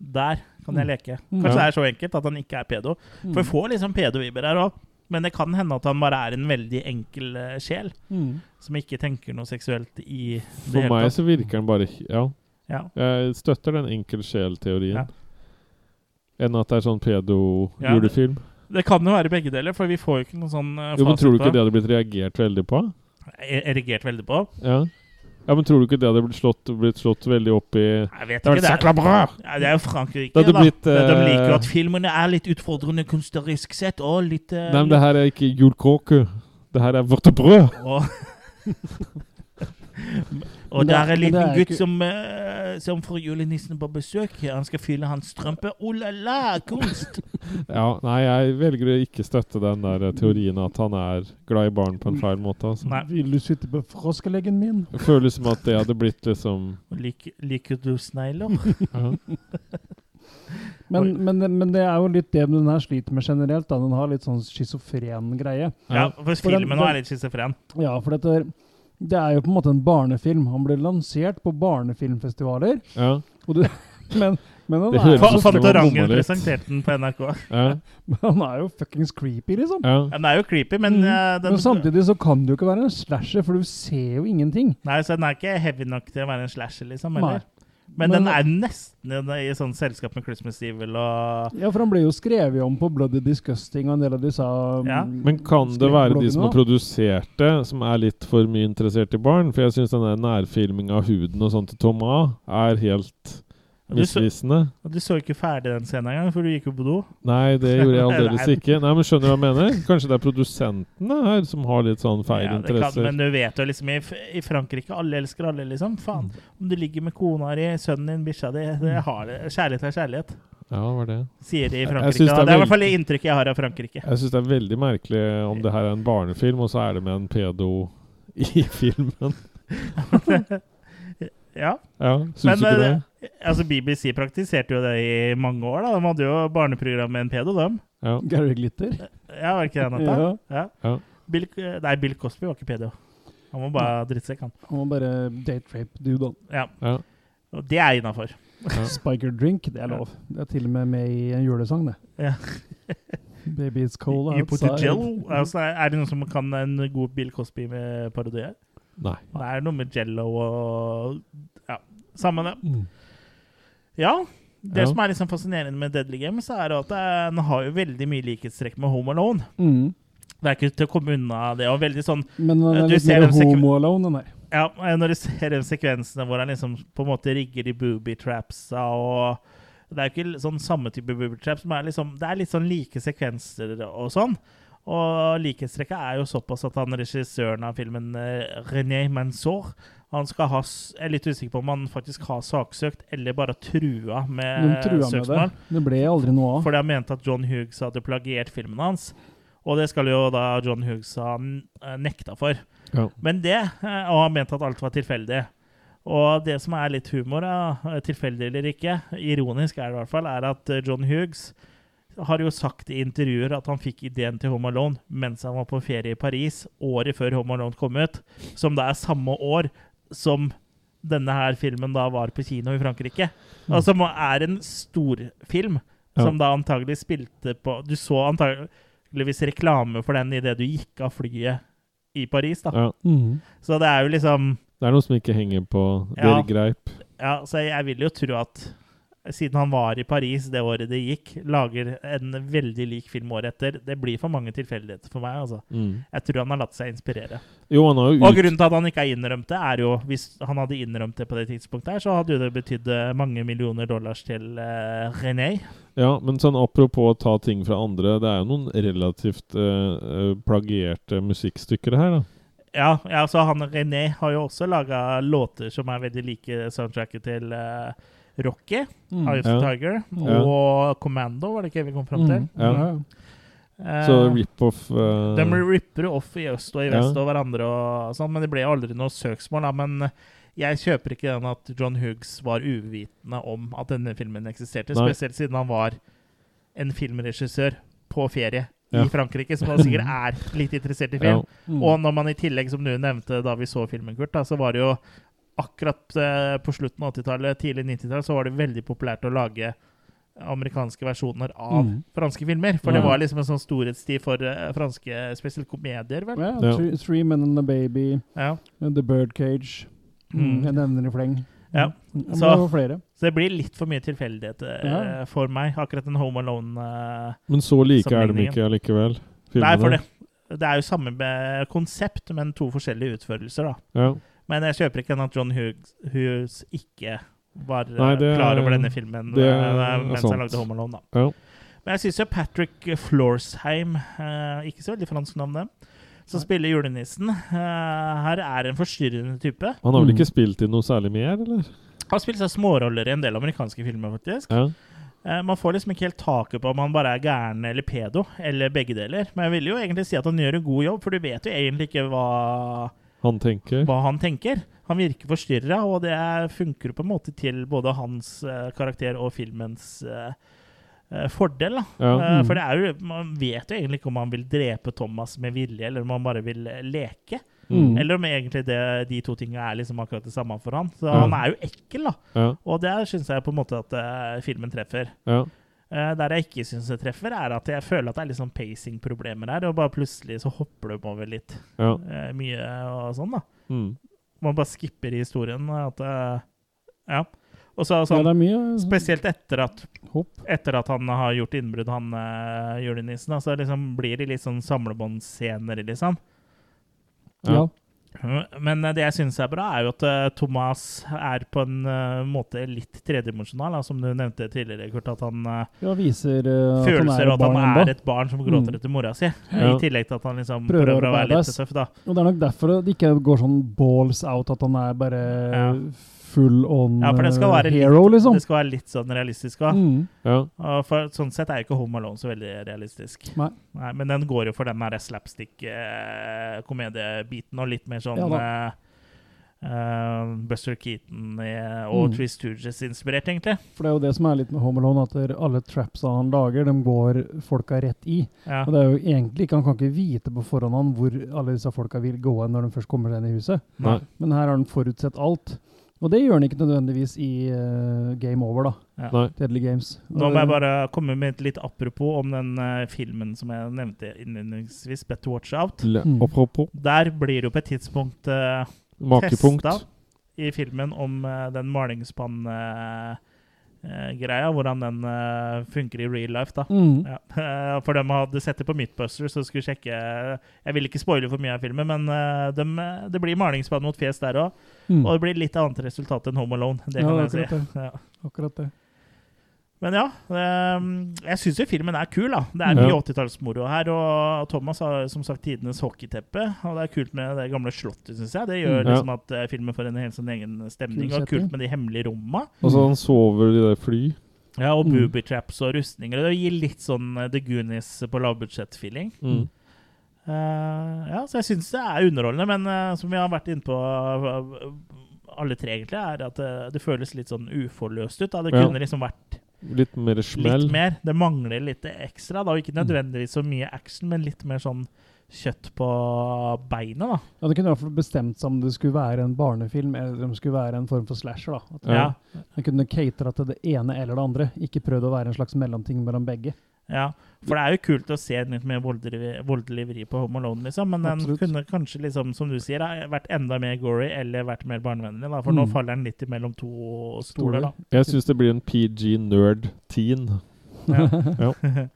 A: der kan jeg leke.
B: Mm.
A: Kanskje
C: Ja.
A: det er så enkelt at han ikke er pedo. For vi
B: Mm.
A: får liksom pedo-vibber her òg, men det kan hende at han bare er en veldig enkel eh, sjel
B: Mm.
A: som ikke tenker noe seksuelt i det
C: For
A: hele
C: meg
A: tatt.
C: så virker han bare he- Ja,
A: Ja.
C: jeg støtter den enkel sjel-teorien.
A: Ja.
C: Enn at det er sånn pedo-julefilm.
A: Det kan jo være begge deler, for vi får jo ikke noen sånn eh,
C: Jo, men tror du
A: på
C: ikke det hadde blitt reagert veldig på?
A: Jeg er Erigert veldig på.
C: Ja, ja men tror du ikke det hadde blitt slått, blitt slått veldig opp i
A: Jeg vet
C: Det
A: ikke
C: hadde
A: det.
C: vært sakla bra!
A: Ja, det er jo Frankrike,
C: Det hadde
A: da.
C: blitt,
A: de
C: eh,
A: liker jo at filmene er litt utfordrende kunstnerisk sett, og litt eh,
C: Nei, men det her er ikke julekåke. Det her er vårt brød.
A: Og, og
B: Men det
A: der
B: er-
A: er en
B: men det
A: liten
B: er
A: gutt
B: ikke-
A: som, eh, som får julenissen på besøk. Han skal fylle hans strømpe. Oh la la, kunst!
C: Ja, nei, jeg velger å ikke støtte den der teorien at han er glad i barn på en feil måte. Altså.
A: Nei.
B: Vil du sitte på froskeleggen min?
C: Det føles som at det hadde blitt liksom
A: Lik, liker du snegler?
C: ja.
B: Men,
A: Oi.
B: men, men det er jo litt det den her sliter med generelt. Da. Den har litt sånn schizofren greie.
A: Ja,
C: Ja.
A: for
B: For den-
A: filmen nå er litt schizofren.
B: Ja, for dette, det er jo på en måte en barnefilm. Han ble lansert på barnefilmfestivaler,
C: Ja.
B: og du, men, men, han
C: Det
B: er,
C: høres-
B: jo-
C: synes det var
A: Fantorangen
C: bomma litt.
A: presenterte den på NRK.
C: Ja.
B: men han er jo fuckings creepy, liksom.
C: ja.
A: Ja, den er jo creepy, men
B: Mm.
A: eh, den,
B: Men samtidig så kan det jo ikke være en slasher, for du ser jo ingenting.
A: Nei, så den er ikke heavy nok til å være en slasher, liksom.
B: Nei.
A: Eller? Men,
B: Men-
A: den er nesten i sånn selskap med Christmas Evil og
B: Ja, for han ble jo skrevet om på Bloody Disgusting og en del av disse um,
A: Ja.
C: Men kan det være de som har
B: skrekkbloggene,
C: produsert det, som er litt for mye interessert i barn? For jeg syns nærfilming av huden og sånt til Tom A er helt
A: Du så,
C: misvisende.
A: du så ikke ferdig den scenen engang, for du gikk jo på do.
C: Nei, det gjorde jeg aldeles
A: Nei.
C: ikke. Nei, men Skjønner du hva jeg mener? Kanskje det er produsentene her som har litt sånn feil
A: Ja, det Kan,
C: interesser.
A: men du vet jo liksom i, F- i Frankrike, alle elsker alle, liksom. Faen.
C: Mm.
A: Om du ligger med kona di, sønnen din, bikkja di det har det. Kjærlighet er kjærlighet,
C: Ja, var det.
A: sier de i
C: Mm. Jeg- jeg
A: Frankrike.
C: synes
A: da.
C: det er
A: det er i
C: vel-
A: hvert fall det inntrykket jeg har av Frankrike.
C: Jeg syns det er veldig merkelig om det her er en barnefilm, og så er det med en pedo i filmen.
A: Ja.
C: Ja, Syns du
A: Men,
C: ikke det?
A: eh, altså BBC praktiserte jo det i mange år. da. De hadde jo barneprogram med en pedo, dem.
C: Ja.
B: Gary Glitter.
A: Ja, var det ikke det, Natta?
B: Ja,
A: Ja.
C: Ja.
A: Bill, eh, nei, Bill Cosby var ikke pedo. Han var bare drittsekk, han.
B: han var bare date rape dude.
A: Ja.
C: Ja.
A: Og det er innafor.
B: Spiker drink, det er lov. Det er til og med med i en julesang, det.
A: Ja.
B: Baby it's cold
A: You put
B: outside.
A: a jello. Altså, er det noen som kan en god Bill Cosby med parodi her?
C: Nei.
A: Det er noe med jello og Ja, samme det.
C: Mm.
A: Ja. Det
C: Ja.
A: som er liksom fascinerende med Deadly Games, er at eh, den har jo veldig mye likhetstrekk med Home Alone.
B: Mm.
A: Det er ikke til å komme unna det. Og veldig sånn
B: Men den
A: Eh,
B: er
A: du
B: litt
A: ser
B: mer
A: en sekven-
B: homo alone, den der.
A: Ja, når du ser de sekvensene hvor han liksom på en måte rigger de booby trapsa og Det er jo ikke sånn samme type booby traps, men er liksom, det er litt sånn like sekvenser og sånn. Og likhetstrekket er jo såpass at han regissøren av filmen, eh, René Mansour han skal ha, s- Jeg er litt usikker på om han faktisk har saksøkt eller bare trua
B: De
A: med
B: trua med det.
A: Eh, søksmål.
B: Det ble aldri noe av.
A: Fordi han mente at John Hughes hadde plagiert filmen hans. Og det skal jo da John Hughes ha n- eh, nekta for.
C: Ja.
A: Men det, eh, og han mente at alt var tilfeldig. Og det som er litt humor, da, eh, tilfeldig eller ikke, ironisk er det i hvert fall, er at eh, John Hughes har jo sagt i intervjuer at han fikk ideen til Home Alone mens han var på ferie i Paris, året før Home Alone kom ut, som da er samme år som denne her filmen da var på kino i Frankrike. Og som er en storfilm, som da antagelig spilte på Du så antageligvis reklame for den idet du gikk av flyet i Paris, da.
C: Ja.
B: Mhm.
A: Så det er jo liksom
C: Det er noe som ikke henger på
A: Ja.
C: dere greip.
A: Ja, så jeg vil jo tro at siden han var i Paris det året det gikk, lager en veldig lik film året etter. Det blir for mange tilfeldigheter for meg, altså.
C: Mm.
A: Jeg tror han har latt seg inspirere.
C: Jo, han har jo
A: Og
C: ut...
A: grunnen til at han ikke har innrømt det, er jo Hvis han hadde innrømt det på det tidspunktet her, så hadde jo det betydd eh, mange millioner dollars til eh, René.
C: Ja, men sånn apropos å ta ting fra andre, det er jo noen relativt eh, eh, plagierte musikkstykker her, da.
A: Ja, ja, så han René har jo også laga låter som er veldig like soundtracket til eh, Rocky,
B: Mhm.
A: Eye of the
C: Mm, Ja. Mm,
A: Tiger,
B: Ja.
A: og Commando, var det ikke vi kom fram til?
B: Mhm.
C: Ja.
A: Eh,
C: Så rip-off eh,
A: De ripper off i øst og i vest
C: Ja.
A: og hverandre og sånn, men det ble jo aldri noe søksmål. Da. Men eh, jeg kjøper ikke den at John Hughes var uvitende om at denne filmen eksisterte.
C: Nei.
A: Spesielt siden han var en filmregissør på ferie
C: Ja.
A: i Frankrike, som han sikkert er litt interessert i film.
B: Mhm.
A: Og når man i tillegg, som du nevnte da vi så filmen, Kurt, da, så var det jo akkurat eh, på slutten av 80-tallet, tidlig 90-tall, så var det veldig populært å lage amerikanske versjoner av
B: Mhm.
A: franske filmer. For det
C: Mm.
B: Ja.
A: var liksom en sånn storhetstid for eh, franske spesielt komedier, vel.
B: Ja,
C: Ja.
B: Three, three Men and a Baby,
A: Ja.
B: The Birdcage
A: Mm.
B: Jeg nevner i fleng.
A: Ja.
B: Mm. Men
A: Så-
B: det var flere.
A: Så det blir litt for mye tilfeldighet eh,
B: Ja.
A: for meg, akkurat den Home Alone. eh,
C: Men så like er de
A: Sammenligningen.
C: ikke allikevel.
A: Nei, for
C: filmene.
A: det, det er jo samme eh, konsept, men to forskjellige utførelser, da.
C: Ja.
A: Men jeg kjøper ikke den at John Hughes, Hughes ikke var eh,
C: Nei, det er-
A: klar over denne filmen
C: det
A: eh,
C: er
A: mens
C: sant.
A: han lagde Home Alone. Da.
C: Ja.
A: Men jeg syns jo Patrick Florsheim, eh, ikke så veldig fransk navn, det, som spiller julenissen, eh, her er en forstyrrende type.
C: Han har vel
B: Mm.
C: ikke spilt i noe særlig mer, eller?
A: Han spiller seg småroller i en del amerikanske filmer, faktisk.
C: Ja.
A: Eh, Man får liksom ikke helt taket på om han bare er gæren eller pedo, eller begge deler. Men jeg vil jo egentlig si at han gjør en god jobb, for du vet jo egentlig ikke hva,
C: Han tenker.
A: hva han tenker. Han virker forstyrra, og det er- funker på en måte til både hans eh, karakter og filmens eh, eh, fordel. Da.
C: Ja. Mm.
A: Eh, for det er jo, man vet jo egentlig ikke om han vil drepe Thomas med vilje, eller om han bare vil eh, leke.
B: Mm.
A: Eller om egentlig det, de to tinga er liksom akkurat det samme for han. Så
C: Ja.
A: han er jo ekkel, da.
C: Ja.
A: Og der syns jeg på en måte at eh, filmen treffer.
C: Ja.
A: Eh, der jeg ikke syns det treffer, er at jeg føler at det er litt sånn pacing-problemer her. Og bare plutselig så hopper de over litt
C: ja.
A: eh, mye og sånn, da.
C: Mm.
A: Man bare skipper i historien. At, eh, ja. Og så
B: ja,
A: sånn
B: det er mye
A: Spesielt etter at,
B: hopp.
A: etter at han har gjort innbrudd, han eh, julenissen. da, Så liksom blir det litt sånn samlebåndscener, liksom.
B: Ja.
C: Ja.
A: Men eh, det jeg syns er bra, er jo at eh, Thomas er på en eh, måte litt tredimensjonal, da, som du nevnte tidligere, Kurt. At han eh,
B: ja, viser uh,
A: følelser og at han
B: ennå.
A: er et barn som gråter
B: Mm.
A: etter mora si.
C: Ja.
A: I tillegg til at han liksom
B: Prøver
A: prøver,
B: å
A: å være litt
B: badass.
A: tøff, da.
B: Og det er nok derfor det ikke går sånn balls out, at han er bare
A: Ja.
B: full on
A: Ja, for det skal
B: eh,
A: være litt-
B: hero, liksom.
A: Det skal være litt sånn realistisk òg.
B: Mm.
C: ja.
A: For sånn sett er jo ikke Home Alone så veldig realistisk.
B: Nei.
A: men den går jo for den derre slapstick-komediebiten og litt mer sånn
B: Ja
A: eh, eh, Buster Keaton eh, og
B: Mm.
A: Three Stooges-inspirert, egentlig.
B: For det er jo det som er litt med Home Alone, at der alle trapsa han lager, dem går folka rett i.
A: Ja.
B: Og det er jo egentlig ikke, Han kan ikke vite på forhånd han hvor alle disse folka vil gå hen når de først kommer seg inn i huset.
C: Nei.
B: Men her har han forutsett alt. Og det gjør han ikke nødvendigvis i eh, Game Over, da.
A: Ja.
C: Nei.
B: Deadly Games.
A: Nå må jeg bare komme med et litt apropos om den eh, filmen som jeg nevnte innledningsvis, Better Watch Out.
C: Le-
B: Mm.
C: Apropos
A: Der blir det jo på et tidspunkt eh,
C: makepunkt.
A: testa i filmen om eh, den malingsspann-greia, hvordan den eh, funker i real life, da.
B: Mm.
A: Ja. eh, For de hadde sett det på Mythbusters og skulle sjekke Jeg vil ikke spoile for mye av filmen, men eh, dem, eh, det blir malingsspann mot fjes der òg.
B: Mm.
A: Og det blir litt annet resultat enn Home Alone. Det
B: Ja,
A: kan
B: det er
A: jeg si.
B: akkurat
A: Ja.
B: Akkurat det.
A: Men ja, eh, jeg syns jo filmen er kul. da Det er mye
C: Ja.
A: 80-tallsmoro her. Og Thomas har som sagt tidenes hockeyteppe. Og det er kult med det gamle slottet, syns jeg. Det gjør
C: Mm, Ja.
A: liksom at eh, filmen får en helt sånn egen stemning.
B: Kul
A: Og kult
B: setting.
A: med de hemmelige romma.
C: Og så Altså, han sover i det fly.
A: Ja, Og
B: Mm.
A: booby traps og rustninger. og Det gir litt sånn eh, The Goonies på lavbudsjett-feeling.
C: Mm.
A: Eh, ja, så jeg syns det er underholdende, men eh, som vi har vært inne på eh, alle tre, egentlig, er at eh, det føles litt sånn uforløst ut. Da. Det
C: Ja.
A: kunne liksom vært
C: Litt mer smell.
A: litt mer. Det mangler litt ekstra. Da. og Ikke
B: Mm.
A: nødvendigvis så mye action, men litt mer sånn kjøtt på beinet, da.
B: Ja, Det kunne i hvert fall bestemt seg om det skulle være en barnefilm eller om det skulle være en form for slasher. da. At
C: Ja.
A: Ja.
B: Man kunne catera til det ene eller det andre, ikke prøvd å være en slags mellomting mellom begge.
A: ja. For det er jo kult å se litt mer voldelig, voldelig vri på Home Alone, liksom. Men den
B: Absolutt.
A: kunne kanskje, liksom, som du sier, da, vært enda mer gory eller vært mer barnevennlig. Da. For nå
B: Mm.
A: faller den litt imellom to stoler, da.
C: Jeg syns det blir en PG nerd teen.
A: Ja.
C: Ja.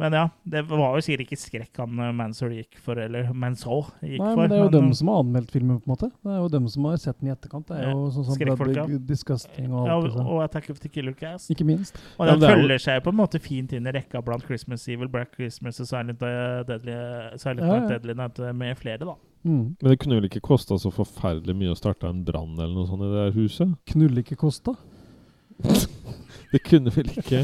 A: men ja, det var jo sikkert ikke skrekk han eh, Mansour gikk for, eller Mansour gikk
B: Nei,
A: for.
B: men Det er jo dem
A: eh,
B: som har anmeldt filmen, på en måte. Det er jo dem som har sett den i etterkant. Det er jo sånn som
A: Skrekkfolk,
B: Bloody Disgusting og
A: ja,
B: alt det
A: og,
B: sånn.
A: og Attack of the Killer Cast.
B: Ikke minst.
A: Og
C: Ja,
A: den
C: det er jo-
A: følger seg på en måte fint inn i rekka blant Christmas Evil, Black Christmas og Silent, eh, Deadly, Silent
B: Ja,
A: Night,
B: ja.
A: Deadly Night eh, med flere, da.
B: Mm.
C: Men det kunne vel ikke kosta så forferdelig mye å starte en brann eller noe sånt i det der huset?
B: Knulle ikke kosta.
C: Det kunne vel ikke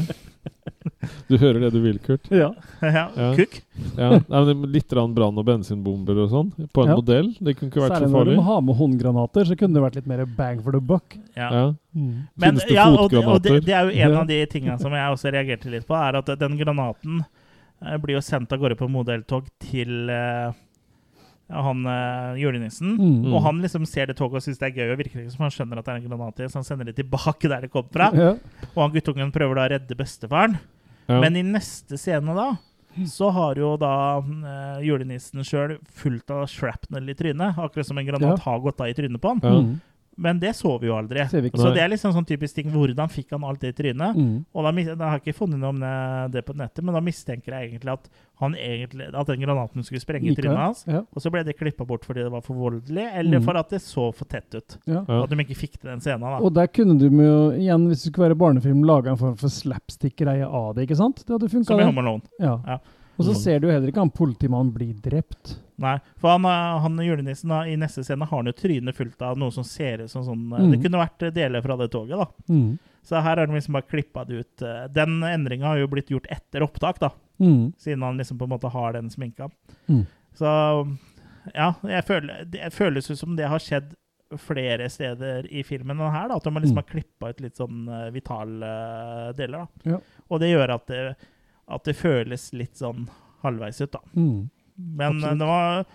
C: Du hører det du vil, Kurt.
B: Ja.
A: ja,
C: Ja.
A: Kukk.
C: Ja, nei, men det- Litt grann brann- og bensinbomber og sånn på en
B: Ja.
C: modell. Det kunne ikke vært
B: Særlig
C: så
B: når
C: farlig.
B: de har med håndgranater, så kunne det vært litt mer bang for the buck.
A: Ja.
C: Ja.
A: Men,
C: Finnes det
A: ja, og, og det,
C: fotgranater?
A: det er jo en
B: Ja.
A: av de tingene som jeg også reagerte litt på, er at den granaten eh, blir jo sendt av gårde på modelltog til eh, han eh, julenissen.
B: Mm.
A: Og han liksom ser det toget og syns det er gøy, og virker ikke som han skjønner at det er en granat i, så han sender det tilbake der det kom fra.
B: Ja.
A: Og han guttungen prøver da å redde bestefaren.
C: Ja.
A: Men i neste scene, da, så har jo da eh, julenissen sjøl fullt av shrapnel i trynet. Akkurat som en granat
B: Ja.
A: har gått av i trynet på han.
C: Ja.
B: Mm.
A: Men det så vi jo aldri.
B: Ser vi ikke.
A: Så
C: Nei.
A: det er liksom sånn typisk ting. Hvordan fikk han alt det i trynet?
B: Mm.
A: Og da, mis- da har jeg ikke funnet noe om det- det på nettet, men da mistenker jeg egentlig at, han egentlig, at den granaten skulle sprenge i
B: Likevel.
A: trynet hans.
B: Ja.
A: Og så ble det klippa bort fordi det var for voldelig, eller
B: Mm.
A: for at det så for tett ut.
B: Ja.
C: Ja.
A: At de ikke fikk til den scenen. da.
B: Og der kunne du med jo, igjen, hvis det skulle være barnefilm, lage en form for slapstick-greie av det. ikke sant? Det hadde funka,
A: Som i
B: det.
A: Home Alone.
B: Ja.
A: Ja.
B: Og så
C: Mm.
B: ser du jo heller ikke han politimannen bli drept.
A: Nei, for han, eh, han julenissen da, i neste scene har han jo trynet fullt av noe som ser ut som sånn eh, Det
B: Mm.
A: kunne vært eh, deler fra det toget, da.
B: Mm.
A: Så her har de liksom bare klippa det ut. eh, Den endringa har jo blitt gjort etter opptak, da.
B: Mm.
A: Siden han liksom på en måte har den sminka.
B: Mm.
A: Så ja, jeg føler, det føles ut som det har skjedd flere steder i filmen enn her. da, At de har
B: Mm.
A: liksom har klippa ut litt sånn eh, vitale eh, deler. da.
B: Ja.
A: Og det gjør at det, at det føles litt sånn halvveis ut, da.
B: Mm.
A: Men
B: Absolutt.
A: eh, det var,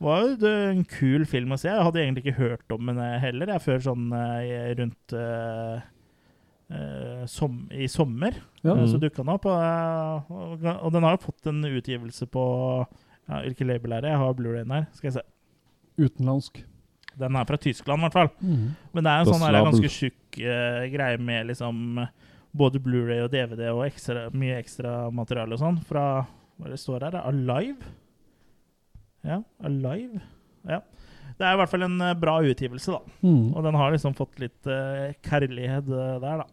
A: var jo det- en kul film å se. Jeg hadde egentlig ikke hørt om den eh, heller, jeg, før sånn eh, rundt eh, eh, som, i sommer.
B: Ja.
A: Eh, Så
C: Mm.
A: dukka den opp. eh, Og, og den har jo fått en utgivelse på ja, Hvilken label er det? Jeg har Blu-rayen her. Skal jeg se.
B: Utenlandsk.
A: Den er fra Tyskland, i hvert fall.
B: Mm.
A: Men det er en
C: Da
A: sånn her,
C: slabel.
A: ganske tjukk eh, greie med liksom både Blu-ray og DVD og ekstra, mye ekstra materiale og sånn fra Hva er det står her? Alive? Ja, Alive. Ja. Det er i hvert fall en eh, bra utgivelse, da.
B: Mm.
A: Og den har liksom fått litt eh, kærlighet eh, der, da.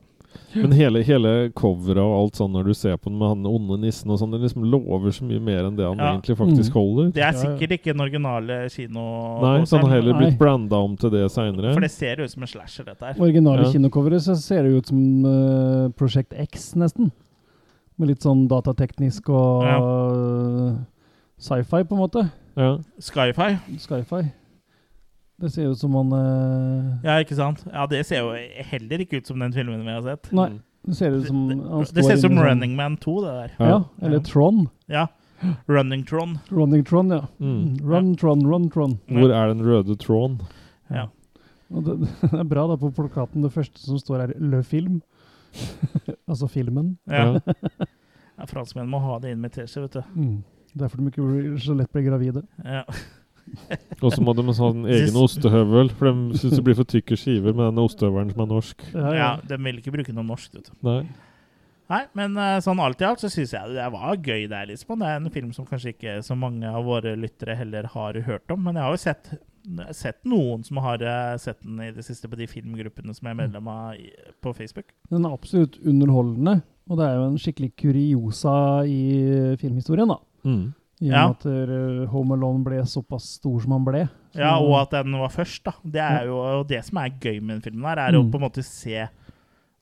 C: Men hele, hele coveret og alt sånn når du ser på den med han onde nissen og sånn, det liksom lover så mye mer enn det han
A: Ja.
C: egentlig faktisk
B: Mm.
C: holder.
A: Det er
B: Ja, ja.
A: sikkert ikke den originale
C: Nei, så han har
A: kinopåsen.
C: heller blitt
B: Nei. sånn
C: branda om til det seinere.
A: For det ser ut som en slasher, dette her.
B: Originale
C: Ja.
B: kinocoveret så ser det jo ut som uh, Prosjekt X, nesten. Med litt sånn datateknisk og eh, sci-fi, på en måte.
C: Ja.
A: Skyfi.
B: Sci-fi. Det ser jo ut som han eh,
A: Ja, ikke sant? Ja, det ser jo heller ikke ut som den filmen vi har sett.
B: Nei, det ser ut som han
A: Det,
B: står
A: det ser ut som
B: inne i sånn-
A: Running Man 2, det der.
B: Ja, eller
A: Ja.
B: Tron.
A: Ja. Running Tron.
B: Running Tron, ja.
C: Mm.
B: Run, Tron, run, Tron.
C: Hvor er den røde tråden?
A: Ja.
B: Og det, det er bra da på plakaten. Det første som står er 'Le Film'. altså filmen.
A: Ja. Ja, Franskmenn må ha det inn med teskje, vet du.
B: Mm. Derfor de ikke blir- så lett blir gravide.
A: Ja.
C: Og så må de ha en sånn egen ostehøvel, for de syns det blir for tykke skiver med den ostehøvelen som er norsk.
B: Ja,
A: ja, De vil ikke bruke noe norsk, vet du.
C: Nei.
A: Nei, men eh, sånn alt i alt så syns jeg det var gøy der, liksom. Det er en film som kanskje ikke så mange av våre lyttere heller har hørt om, men jeg har jo sett Jeg har sett noen som har eh, sett den i det siste på de filmgruppene som jeg
B: Mm.
A: er medlem av i- på Facebook.
B: Den er absolutt underholdende, og det er jo en skikkelig kuriosa i filmhistorien, da.
C: Mm.
B: I og med
A: Ja.
B: at eh, Home Alone ble såpass stor som han ble. Så-
A: Ja, Og at den var først, da. Det er jo og det som er gøy med den filmen, her, er å
B: Mm.
A: på en måte se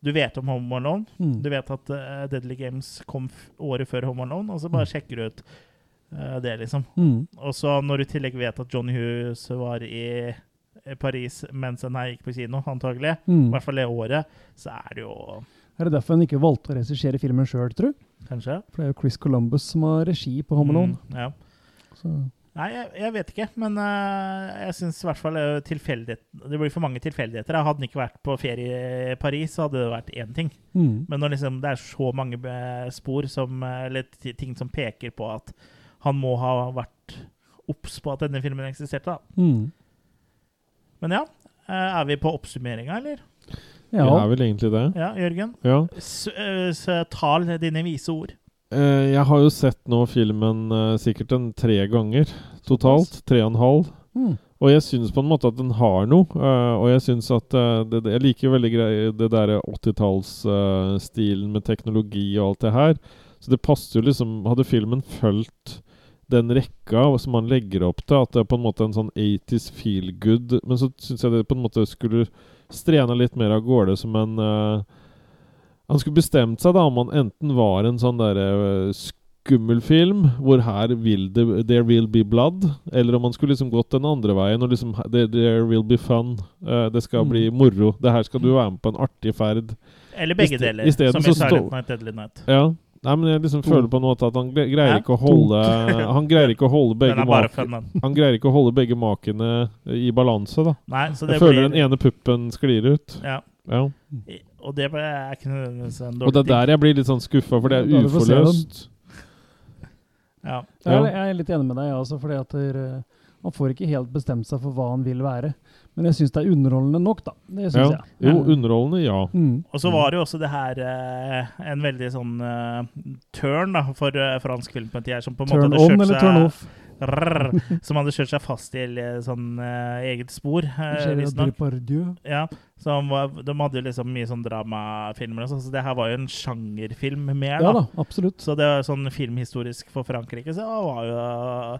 A: Du vet om Home Alone,
B: Mm.
A: Du vet at eh, Deadly Games kom f året før Home Alone, og så bare sjekker du ut eh, det, liksom.
B: Mm.
A: Og så når du i tillegg vet at Johnny Hughes var i eh, Paris mens den her gikk på kino, antagelig, i
B: Mm.
A: hvert fall det året, så er det jo
B: Er det derfor han ikke valgte å regissere filmen sjøl, tru?
A: kanskje
B: For det er jo Chris Columbus som har regi på Home Alone.
A: Mm, ja.
B: Så.
A: Nei, jeg, jeg vet ikke, men eh, jeg syns i hvert fall eh, tilfeldighet Det blir for mange tilfeldigheter. Hadde den ikke vært på ferie i Paris, så hadde det vært én ting.
B: Mm.
A: Men når liksom det er så mange eh, spor som, eh, eller ti- ting som peker på at han må ha vært obs på at denne filmen eksisterte, da.
B: Mm.
A: Men ja. eh, Er vi på oppsummeringa, eller?
B: Ja.
C: Det er vel egentlig det.
A: Ja, Jørgen?
C: Ja.
A: S eh, s tal dine vise ord.
C: Eh, jeg har jo sett nå filmen eh, sikkert en tre ganger totalt. Tre og en halv.
B: Mm.
C: Og jeg syns på en måte at den har noe. eh, og jeg syns at eh, det, det, Jeg liker jo veldig grei, det derre 80-tallsstilen med teknologi og alt det her. Så det passer jo liksom Hadde filmen fulgt den rekka som man legger opp til, at det er på en måte en sånn 80s feel good Men så syns jeg det på en måte skulle strena litt mer av gårde som en eh, Han skulle bestemt seg da om han enten var en sånn derre eh, skummel film, hvor her vil det There will be blood. Eller om man skulle liksom gått den andre veien og liksom There, there will be fun. eh, det skal
B: Mm.
C: bli moro. Det her skal du være med på en artig ferd.
A: Eller
C: I
A: begge
C: ste-
A: deler.
C: i stedet
A: som
C: så
A: i Silent
C: stå-
A: Night, Deadly Night.
C: Ja. Nei, men jeg liksom føler på en måte at han gre- greier ikke å holde Han greier ikke å holde
A: Den
C: begge
A: er bare
C: mak-
A: fun, den.
C: Han greier ikke å holde begge makene i balanse, da.
A: Nei, så det
C: Jeg
A: blir-
C: føler den ene puppen sklir ut.
A: ja,
C: Ja.
A: og det er ikke nødvendigvis en
C: Og det
A: dårlig
C: er der jeg blir litt sånn skuffa, for det
B: Ja,
C: er
B: du får se
C: uforløst.
A: ting. Ja.
B: Jeg
C: Ja.
B: er- Jeg er litt enig med deg, jeg også, fordi at eh, man får ikke helt bestemt seg for hva han vil være. Men jeg syns det er underholdende nok, da. Det
C: Ja.
B: syns jeg.
C: Jo, underholdende, ja.
B: Mm.
A: Og så var det jo også det her eh, en veldig sånn eh, turn da, for eh, fransk filmpoliti her, som på en
B: Turn
A: måte hadde
B: on
A: kjørt
B: eller
A: seg,
B: turn off?
A: Rrrr, som hadde kjørt seg fast til eh, sånn eh, eget spor, eh,
B: Gerard
A: visstnok.
B: Depardieu.
A: Ja, så han var, de hadde jo liksom mye sånn dramafilmer og sånn, så det her var jo en sjangerfilm mer,
B: Ja
A: da.
B: da, absolutt.
A: Så det var sånn filmhistorisk for Frankrike, så var jo eh,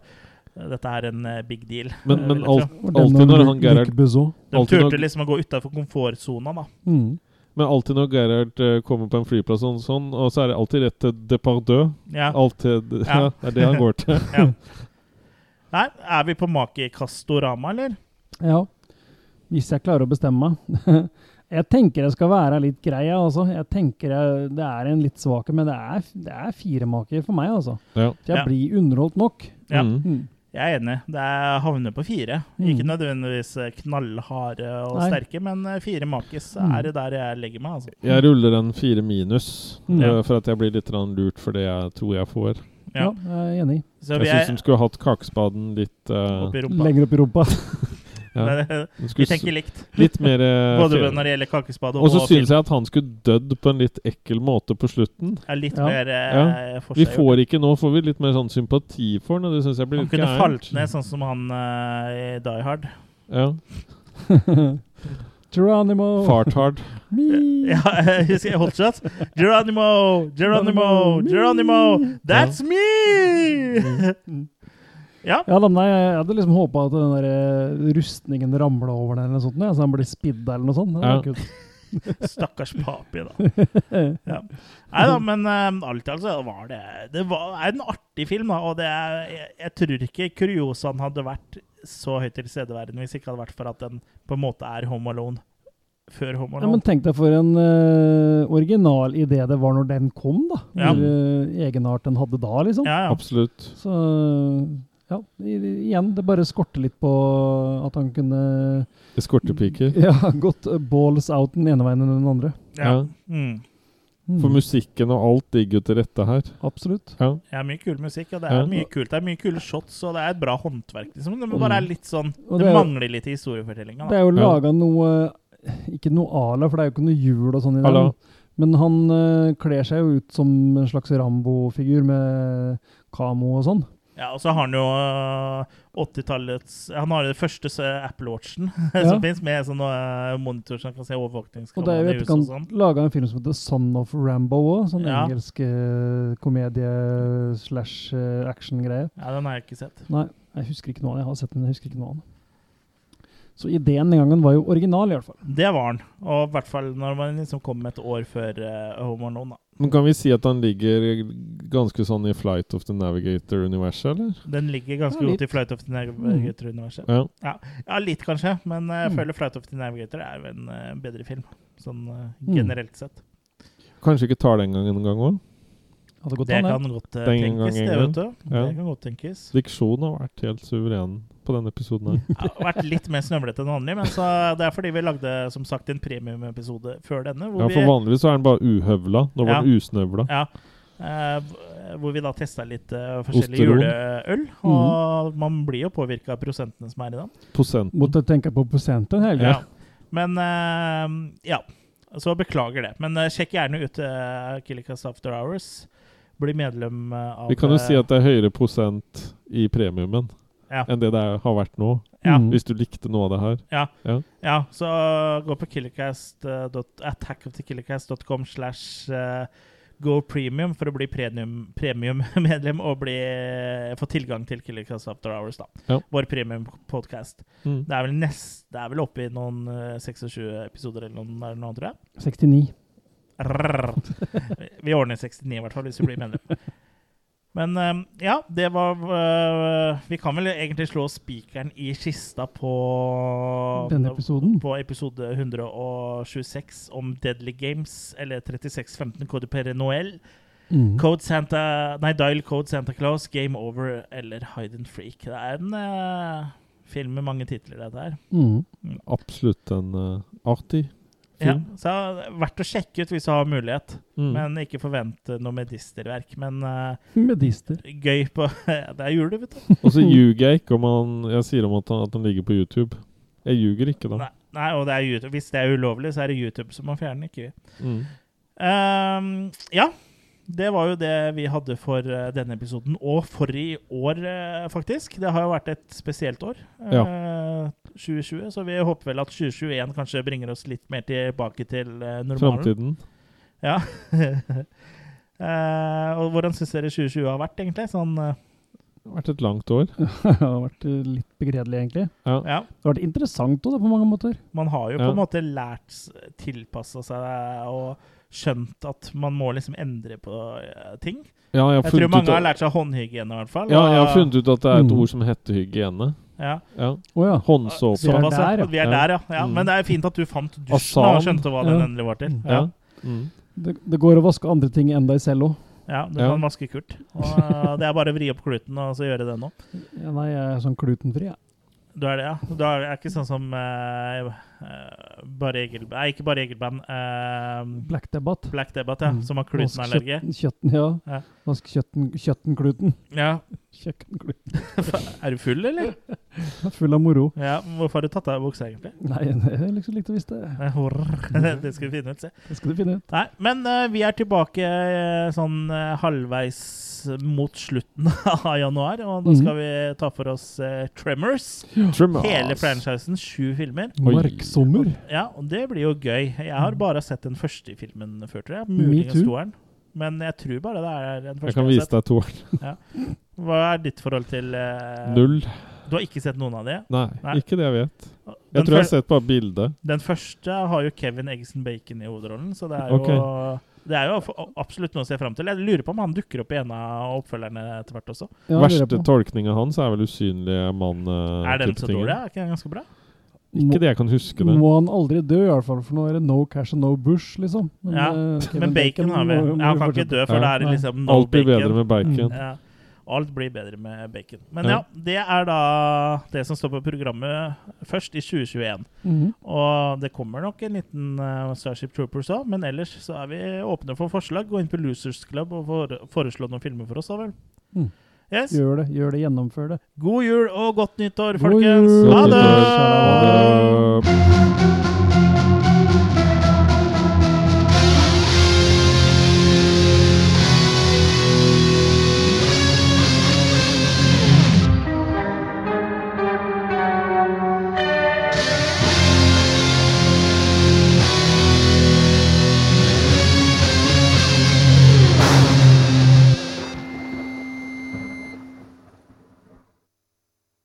A: dette her en eh, big deal.
C: Men,
A: eh, vil
C: men
A: jeg
C: alt,
A: tro.
B: Og
C: Alltid
B: den
C: når
B: og
C: han
B: Luc
C: Gerard-
B: Besson.
A: De
C: alltid når-
A: turte liksom å gå utafor komfortsona, da.
B: Mm.
C: men alltid når Gerhard eh, kommer på en flyplass og sånn, og så er det alltid rett til Depardieu.
A: Ja.
C: Alltid, ja.
A: Ja.
C: det er det han går til.
A: ja. Nei, er vi på Makikastorama, eller?
B: Ja. Hvis jeg klarer å bestemme meg. jeg tenker jeg skal være litt grei, jeg altså. Jeg tenker jeg, det er en litt svake, men det er, det er firemaker for meg, altså.
C: Ja.
B: For jeg
A: Ja.
B: blir underholdt nok.
A: Ja.
C: Mm.
B: Mm.
A: Jeg er enig. Det er havner på fire. Ikke
B: Mm.
A: nødvendigvis eh, knallharde og
B: Nei.
A: sterke, men eh, fire makis
B: Mm.
A: er det der jeg legger meg. altså.
C: Jeg ruller en fire minus,
B: Mm.
C: eh, for at jeg blir litt grann lurt for det jeg tror jeg får.
A: Ja.
B: Ja, jeg er enig.
A: Så vi
C: jeg syns
A: er
C: de skulle hatt kakespaden litt eh,
A: oppi rumpa.
B: Lenger opp i rumpa.
C: ja. de
A: Vi
C: skulle s-
A: tenker likt,
C: Litt mer eh,
A: både
C: fe-
A: når det gjelder kakespade
C: Og
A: og
C: så
A: film.
C: syns jeg at han skulle dødd på en litt ekkel måte på slutten.
A: Er litt
B: Ja.
A: mer eh,
C: Vi
A: forseggjort.
C: får ikke nå får vi litt mer sånn sympati for han, og det syns jeg blir
A: Han
C: litt
A: kunne falt
C: gærent.
A: ned, sånn som han eh, i Die Hard.
C: Ja.
B: Geronimo!
C: Farthard.
B: Me.
A: Ja, jeg husker jeg holdt shot. Geronimo, Geronimo, Geronimo, that's
B: Mm.
A: me! Ja,
B: Ja, da, men nei, jeg hadde liksom håpa at den der eh, rustningen ramla over den, eller noe sånt, ja, så han ble spidda eller noe sånt. Det
C: Ja.
B: hadde vært kult.
A: Stakkars papi, da. Ja. Nei da, men eh, alt i alt så var det Det var, er en artig film, da. Og det er, jeg, jeg tror ikke kuriosaen hadde vært så høyt tilstedeværende hvis ikke hadde vært for at den på en måte er Home Alone før Home
B: Ja, men
A: Alone.
B: tenk deg for en eh, original idé det var når den kom, da.
A: Ja.
B: Hvor eh, egenart den hadde da, liksom.
A: Ja, ja.
C: Absolutt.
B: Så ja, i, i- igjen, det bare skorter litt på at han kunne
C: Eskortepiker.
B: ja, gått balls out den ene veien enn den andre.
A: ja.
C: Ja.
A: Mm.
B: Mm.
C: For musikken og alt ligger jo til rette her.
B: Absolutt.
C: Ja.
A: Det er mye kul musikk, og det er
C: Ja.
A: mye kult. Det er mye kule shots, og det er et bra håndverk. liksom. Det bare er litt sånn
B: Mm.
A: Det
B: Og det er jo-
A: mangler litt i historiefortellinga. da.
B: Det er jo
C: Ja.
B: laga noe Ikke noe ala, for det er jo ikke noe hjul og sånn i den.
C: Ala.
B: Men han eh, kler seg jo ut som en slags Rambo-figur med kamo og sånn.
A: Ja, og så har han jo øh, 80-tallets Han har jo den første øh, Apple Watchen
B: Ja.
A: som fins, med sånn øh, monitor som kan se
B: Og det er
A: overvåkningskameraene i
B: jo
A: huset og sånn.
B: etterkant laga en film som heter 'Son of Rambo' òg. Sånn
A: Ja.
B: engelsk eh, komedie-slash-action-greie.
A: Ja, den har jeg ikke sett.
B: Nei, jeg husker ikke noe av det. Jeg har sett den, men jeg husker ikke noe av den. Så ideen den gangen var jo original, i hvert fall.
A: Det var han. Og i hvert fall når man liksom kom et år før øh, Home Alone. da.
C: Men kan vi si at han ligger ganske sånn i Flight of the Navigator-universet, eller?
A: Den ligger ganske
B: Ja,
A: godt i Flight of the Navigator-universet.
C: Ja.
A: Ja, litt kanskje, men øh, jeg
B: Mm.
A: føler Flight of the Navigator er jo en øh, bedre film. Sånn øh,
B: Mm.
A: generelt sett.
C: Kanskje ikke tar den gangen engang òg?
B: Hadde gått
A: Det
B: an, det.
A: kan godt øh,
C: Den gangen,
A: tenkes, det,
C: ja.
A: vet du.
C: Ja.
A: Det kan godt tenkes.
C: Diksjonen har vært helt suveren på denne episoden her.
A: Ja, det har vært litt mer snøvlete enn vanlig, men så det er fordi vi lagde som sagt en premiumepisode før denne.
C: Ja,
A: Hvor
C: for vanligvis så er den bare uhøvla. Nå var
A: Ja.
C: den usnøvla.
A: vi, ja, eh, v- hvor vi da testa litt eh, forskjellig
C: Osteron. Mhm.
A: juleøl. Og man blir jo påvirka av prosentene som er i den.
C: Prosenten.
B: Måtte tenke på prosenten hele tida.
A: Ja. Men eh, ja, så beklager det. Men eh, sjekk gjerne ut uh, Killikas After Hours. Bli medlem eh, av
C: Vi kan jo si
A: eh,
C: at det er høyere prosent i premiumen
A: Ja.
C: enn det det er, har vært nå.
A: eh, ja,
B: Mm.
C: Hvis du likte noe av det her.
A: Ja, så gå på killercast, eh, dot- attackofthekillercast.com slash eh, go premium for å bli premium- premium-medlem og bli, eh, få tilgang til Killercast After Hours, da.
C: Ja.
A: Vår premium-podkast.
C: Mm.
A: Det er vel nest, det er vel oppe i noen eh, 26 episoder eller noe, eller noe tror jeg.
B: 69.
A: Rrrr. Vi ordner 69 i hvert fall hvis du blir medlem. Men eh, ja, det var eh, Vi kan vel egentlig slå spikeren i kista på
B: Denne episoden.
A: på episode 126 om Deadly Games, eller 3615 Code Pere Noel.
B: Mm.
A: Code Santa, nei, Dial Code Santa Claus, Game Over eller Hide and Freak. Det er en eh, film med mange titler, dette her.
B: Mm.
C: Absolutt en eh, artig
A: Ja,
C: film.
A: så det er verdt å sjekke ut hvis du har mulighet.
C: Mm.
A: Men ikke forvente noe medisterverk. Men eh,
B: Medister.
A: gøy på Det er jul, vet du.
C: Og så ljuger jeg ikke om han Jeg sier om at han, at han ligger på YouTube. Jeg ljuger ikke, da.
A: Nei, nei, og det er YouTube. Hvis det er ulovlig, så er det YouTube som må fjerne, den, ikke vi.
C: Mm.
A: Ehm, ja. Det var jo det vi hadde for eh, denne episoden, og for i år, eh, faktisk. Det har jo vært et spesielt år, eh, 2020, så vi håper vel at 2021 kanskje bringer oss litt mer tilbake til eh, normalen.
C: Framtiden.
A: Ja. Eh, og hvordan syns dere 2020 har vært, egentlig? Sånn eh,
C: Det har vært et langt år.
B: det har vært eh, litt begredelig, egentlig.
A: Ja.
B: Det har vært interessant også, da, på mange måter.
A: Man har jo
C: Ja.
A: på en måte lært s- tilpassa seg eh, og skjønt at man må liksom endre på eh, ting.
C: Ja, jeg, har
A: Jeg
C: funnet
A: tror
C: ut
A: mange
C: at-
A: har lært seg håndhygiene, i hvert fall.
C: Ja, jeg har
A: og-
C: funnet ut at det er et
B: Mm.
C: ord som heter hygiene.
A: ja.
C: Ja.
B: Å ja.
C: Håndsåpe.
B: Så-
A: Sånn Såpass, ja.
B: der, ja.
A: Vi er
C: Ja.
A: der, ja. ja.
C: Mm.
A: Men det er fint at du fant dusjen
C: Asan.
A: og skjønte hva den
B: Ja.
A: endelig var til. Ja,
C: Ja. Mm.
B: Det, det går å vaske andre ting enn deg selv òg.
A: ja Du
C: Ja.
A: kan vaske Kurt. Og eh, det er bare å vri opp kluten og så gjøre det nå.
B: Ja, nei, jeg er sånn glutenfri, jeg.
A: Du er det, ja. Du er, er ikke sånn som eh, eh, Bare Egil... Nei, ikke Bare Egil-band. eh,
B: Black Debate.
A: Black Debate, ja.
B: Mm.
A: Som har
B: Vask
A: glutenallergi.
B: kjøtten- Kjøtten, ja.
A: Ja.
B: Vask kjøtten, kjøttenkluten.
A: Ja.
B: Kjøkkenkluten.
A: Er du full, eller?
B: Full av moro.
A: Ja. Hvorfor har du tatt av deg buksa, egentlig?
B: Nei, det er liksom litt å visst det.
A: Eh, horror. Det skal vi finne ut, se.
B: Det skal du finne ut.
A: Nei, men eh, vi er tilbake eh, sånn eh, halvveis mot slutten av januar, og da
B: Mhm.
A: skal vi ta for oss eh, Tremors.
C: Tremors.
A: Hele franchisen, sju filmer.
C: Oi.
B: Marksommer.
A: Ja, og det blir jo gøy. Jeg har
C: Mhm.
A: bare sett den første filmen før, tror jeg.
B: Me
A: Muligens
B: too.
A: toeren. Men jeg tror bare det er den
C: Jeg
A: første jeg
C: kan
A: har
C: vise
A: sett.
C: deg toeren.
A: Hva er ditt forhold til eh,
C: Null.
A: Du har ikke sett noen av de?
C: Nei,
A: Nei.
C: ikke det jeg vet. Jeg
A: Den
C: tror jeg har
A: fyr-
C: sett bare bildet.
A: Den første har jo Kevin Eggson Bacon i hovedrollen, så det er jo Det er jo f- absolutt noe å se fram til. Jeg lurer på om han dukker opp i en av oppfølgerne etter hvert også.
B: Ja, lurer jeg
C: Verste
B: på.
C: tolkninga hans er vel 'usynlige mann'. eh,
A: er den
C: type
A: så
C: ting.
A: dårlig? Er ikke den ganske bra?
C: Ikke det jeg kan huske.
B: Må,
C: det
B: må han aldri dø, i hvert fall, for nå er det no cash and no bush, liksom.
A: Ja,
B: eh, Kevin
A: Men Bacon har vi.
B: må- må
A: Ja, han kan
B: fortsette.
A: ikke dø, for da
B: Ja,
A: er det
B: nei.
A: liksom no
C: Alt blir bedre med bacon.
A: Ja. Alt blir bedre med bacon. Men
C: Ja.
A: ja. det er da det som står på programmet først i 2021.
B: Mhm.
A: Og det kommer nok en liten eh, Starship Troopers òg, men ellers så er vi åpne for forslag. Gå inn på Losers Club og fore- foreslå noen filmer for oss, da vel.
B: Mm.
A: Yes.
B: Gjør det, gjør det, gjennomfør det.
A: God jul og godt nyttår,
B: God
A: folkens!
B: jul.
A: Ha
C: Godt nyttår.
A: det!
C: Ha det.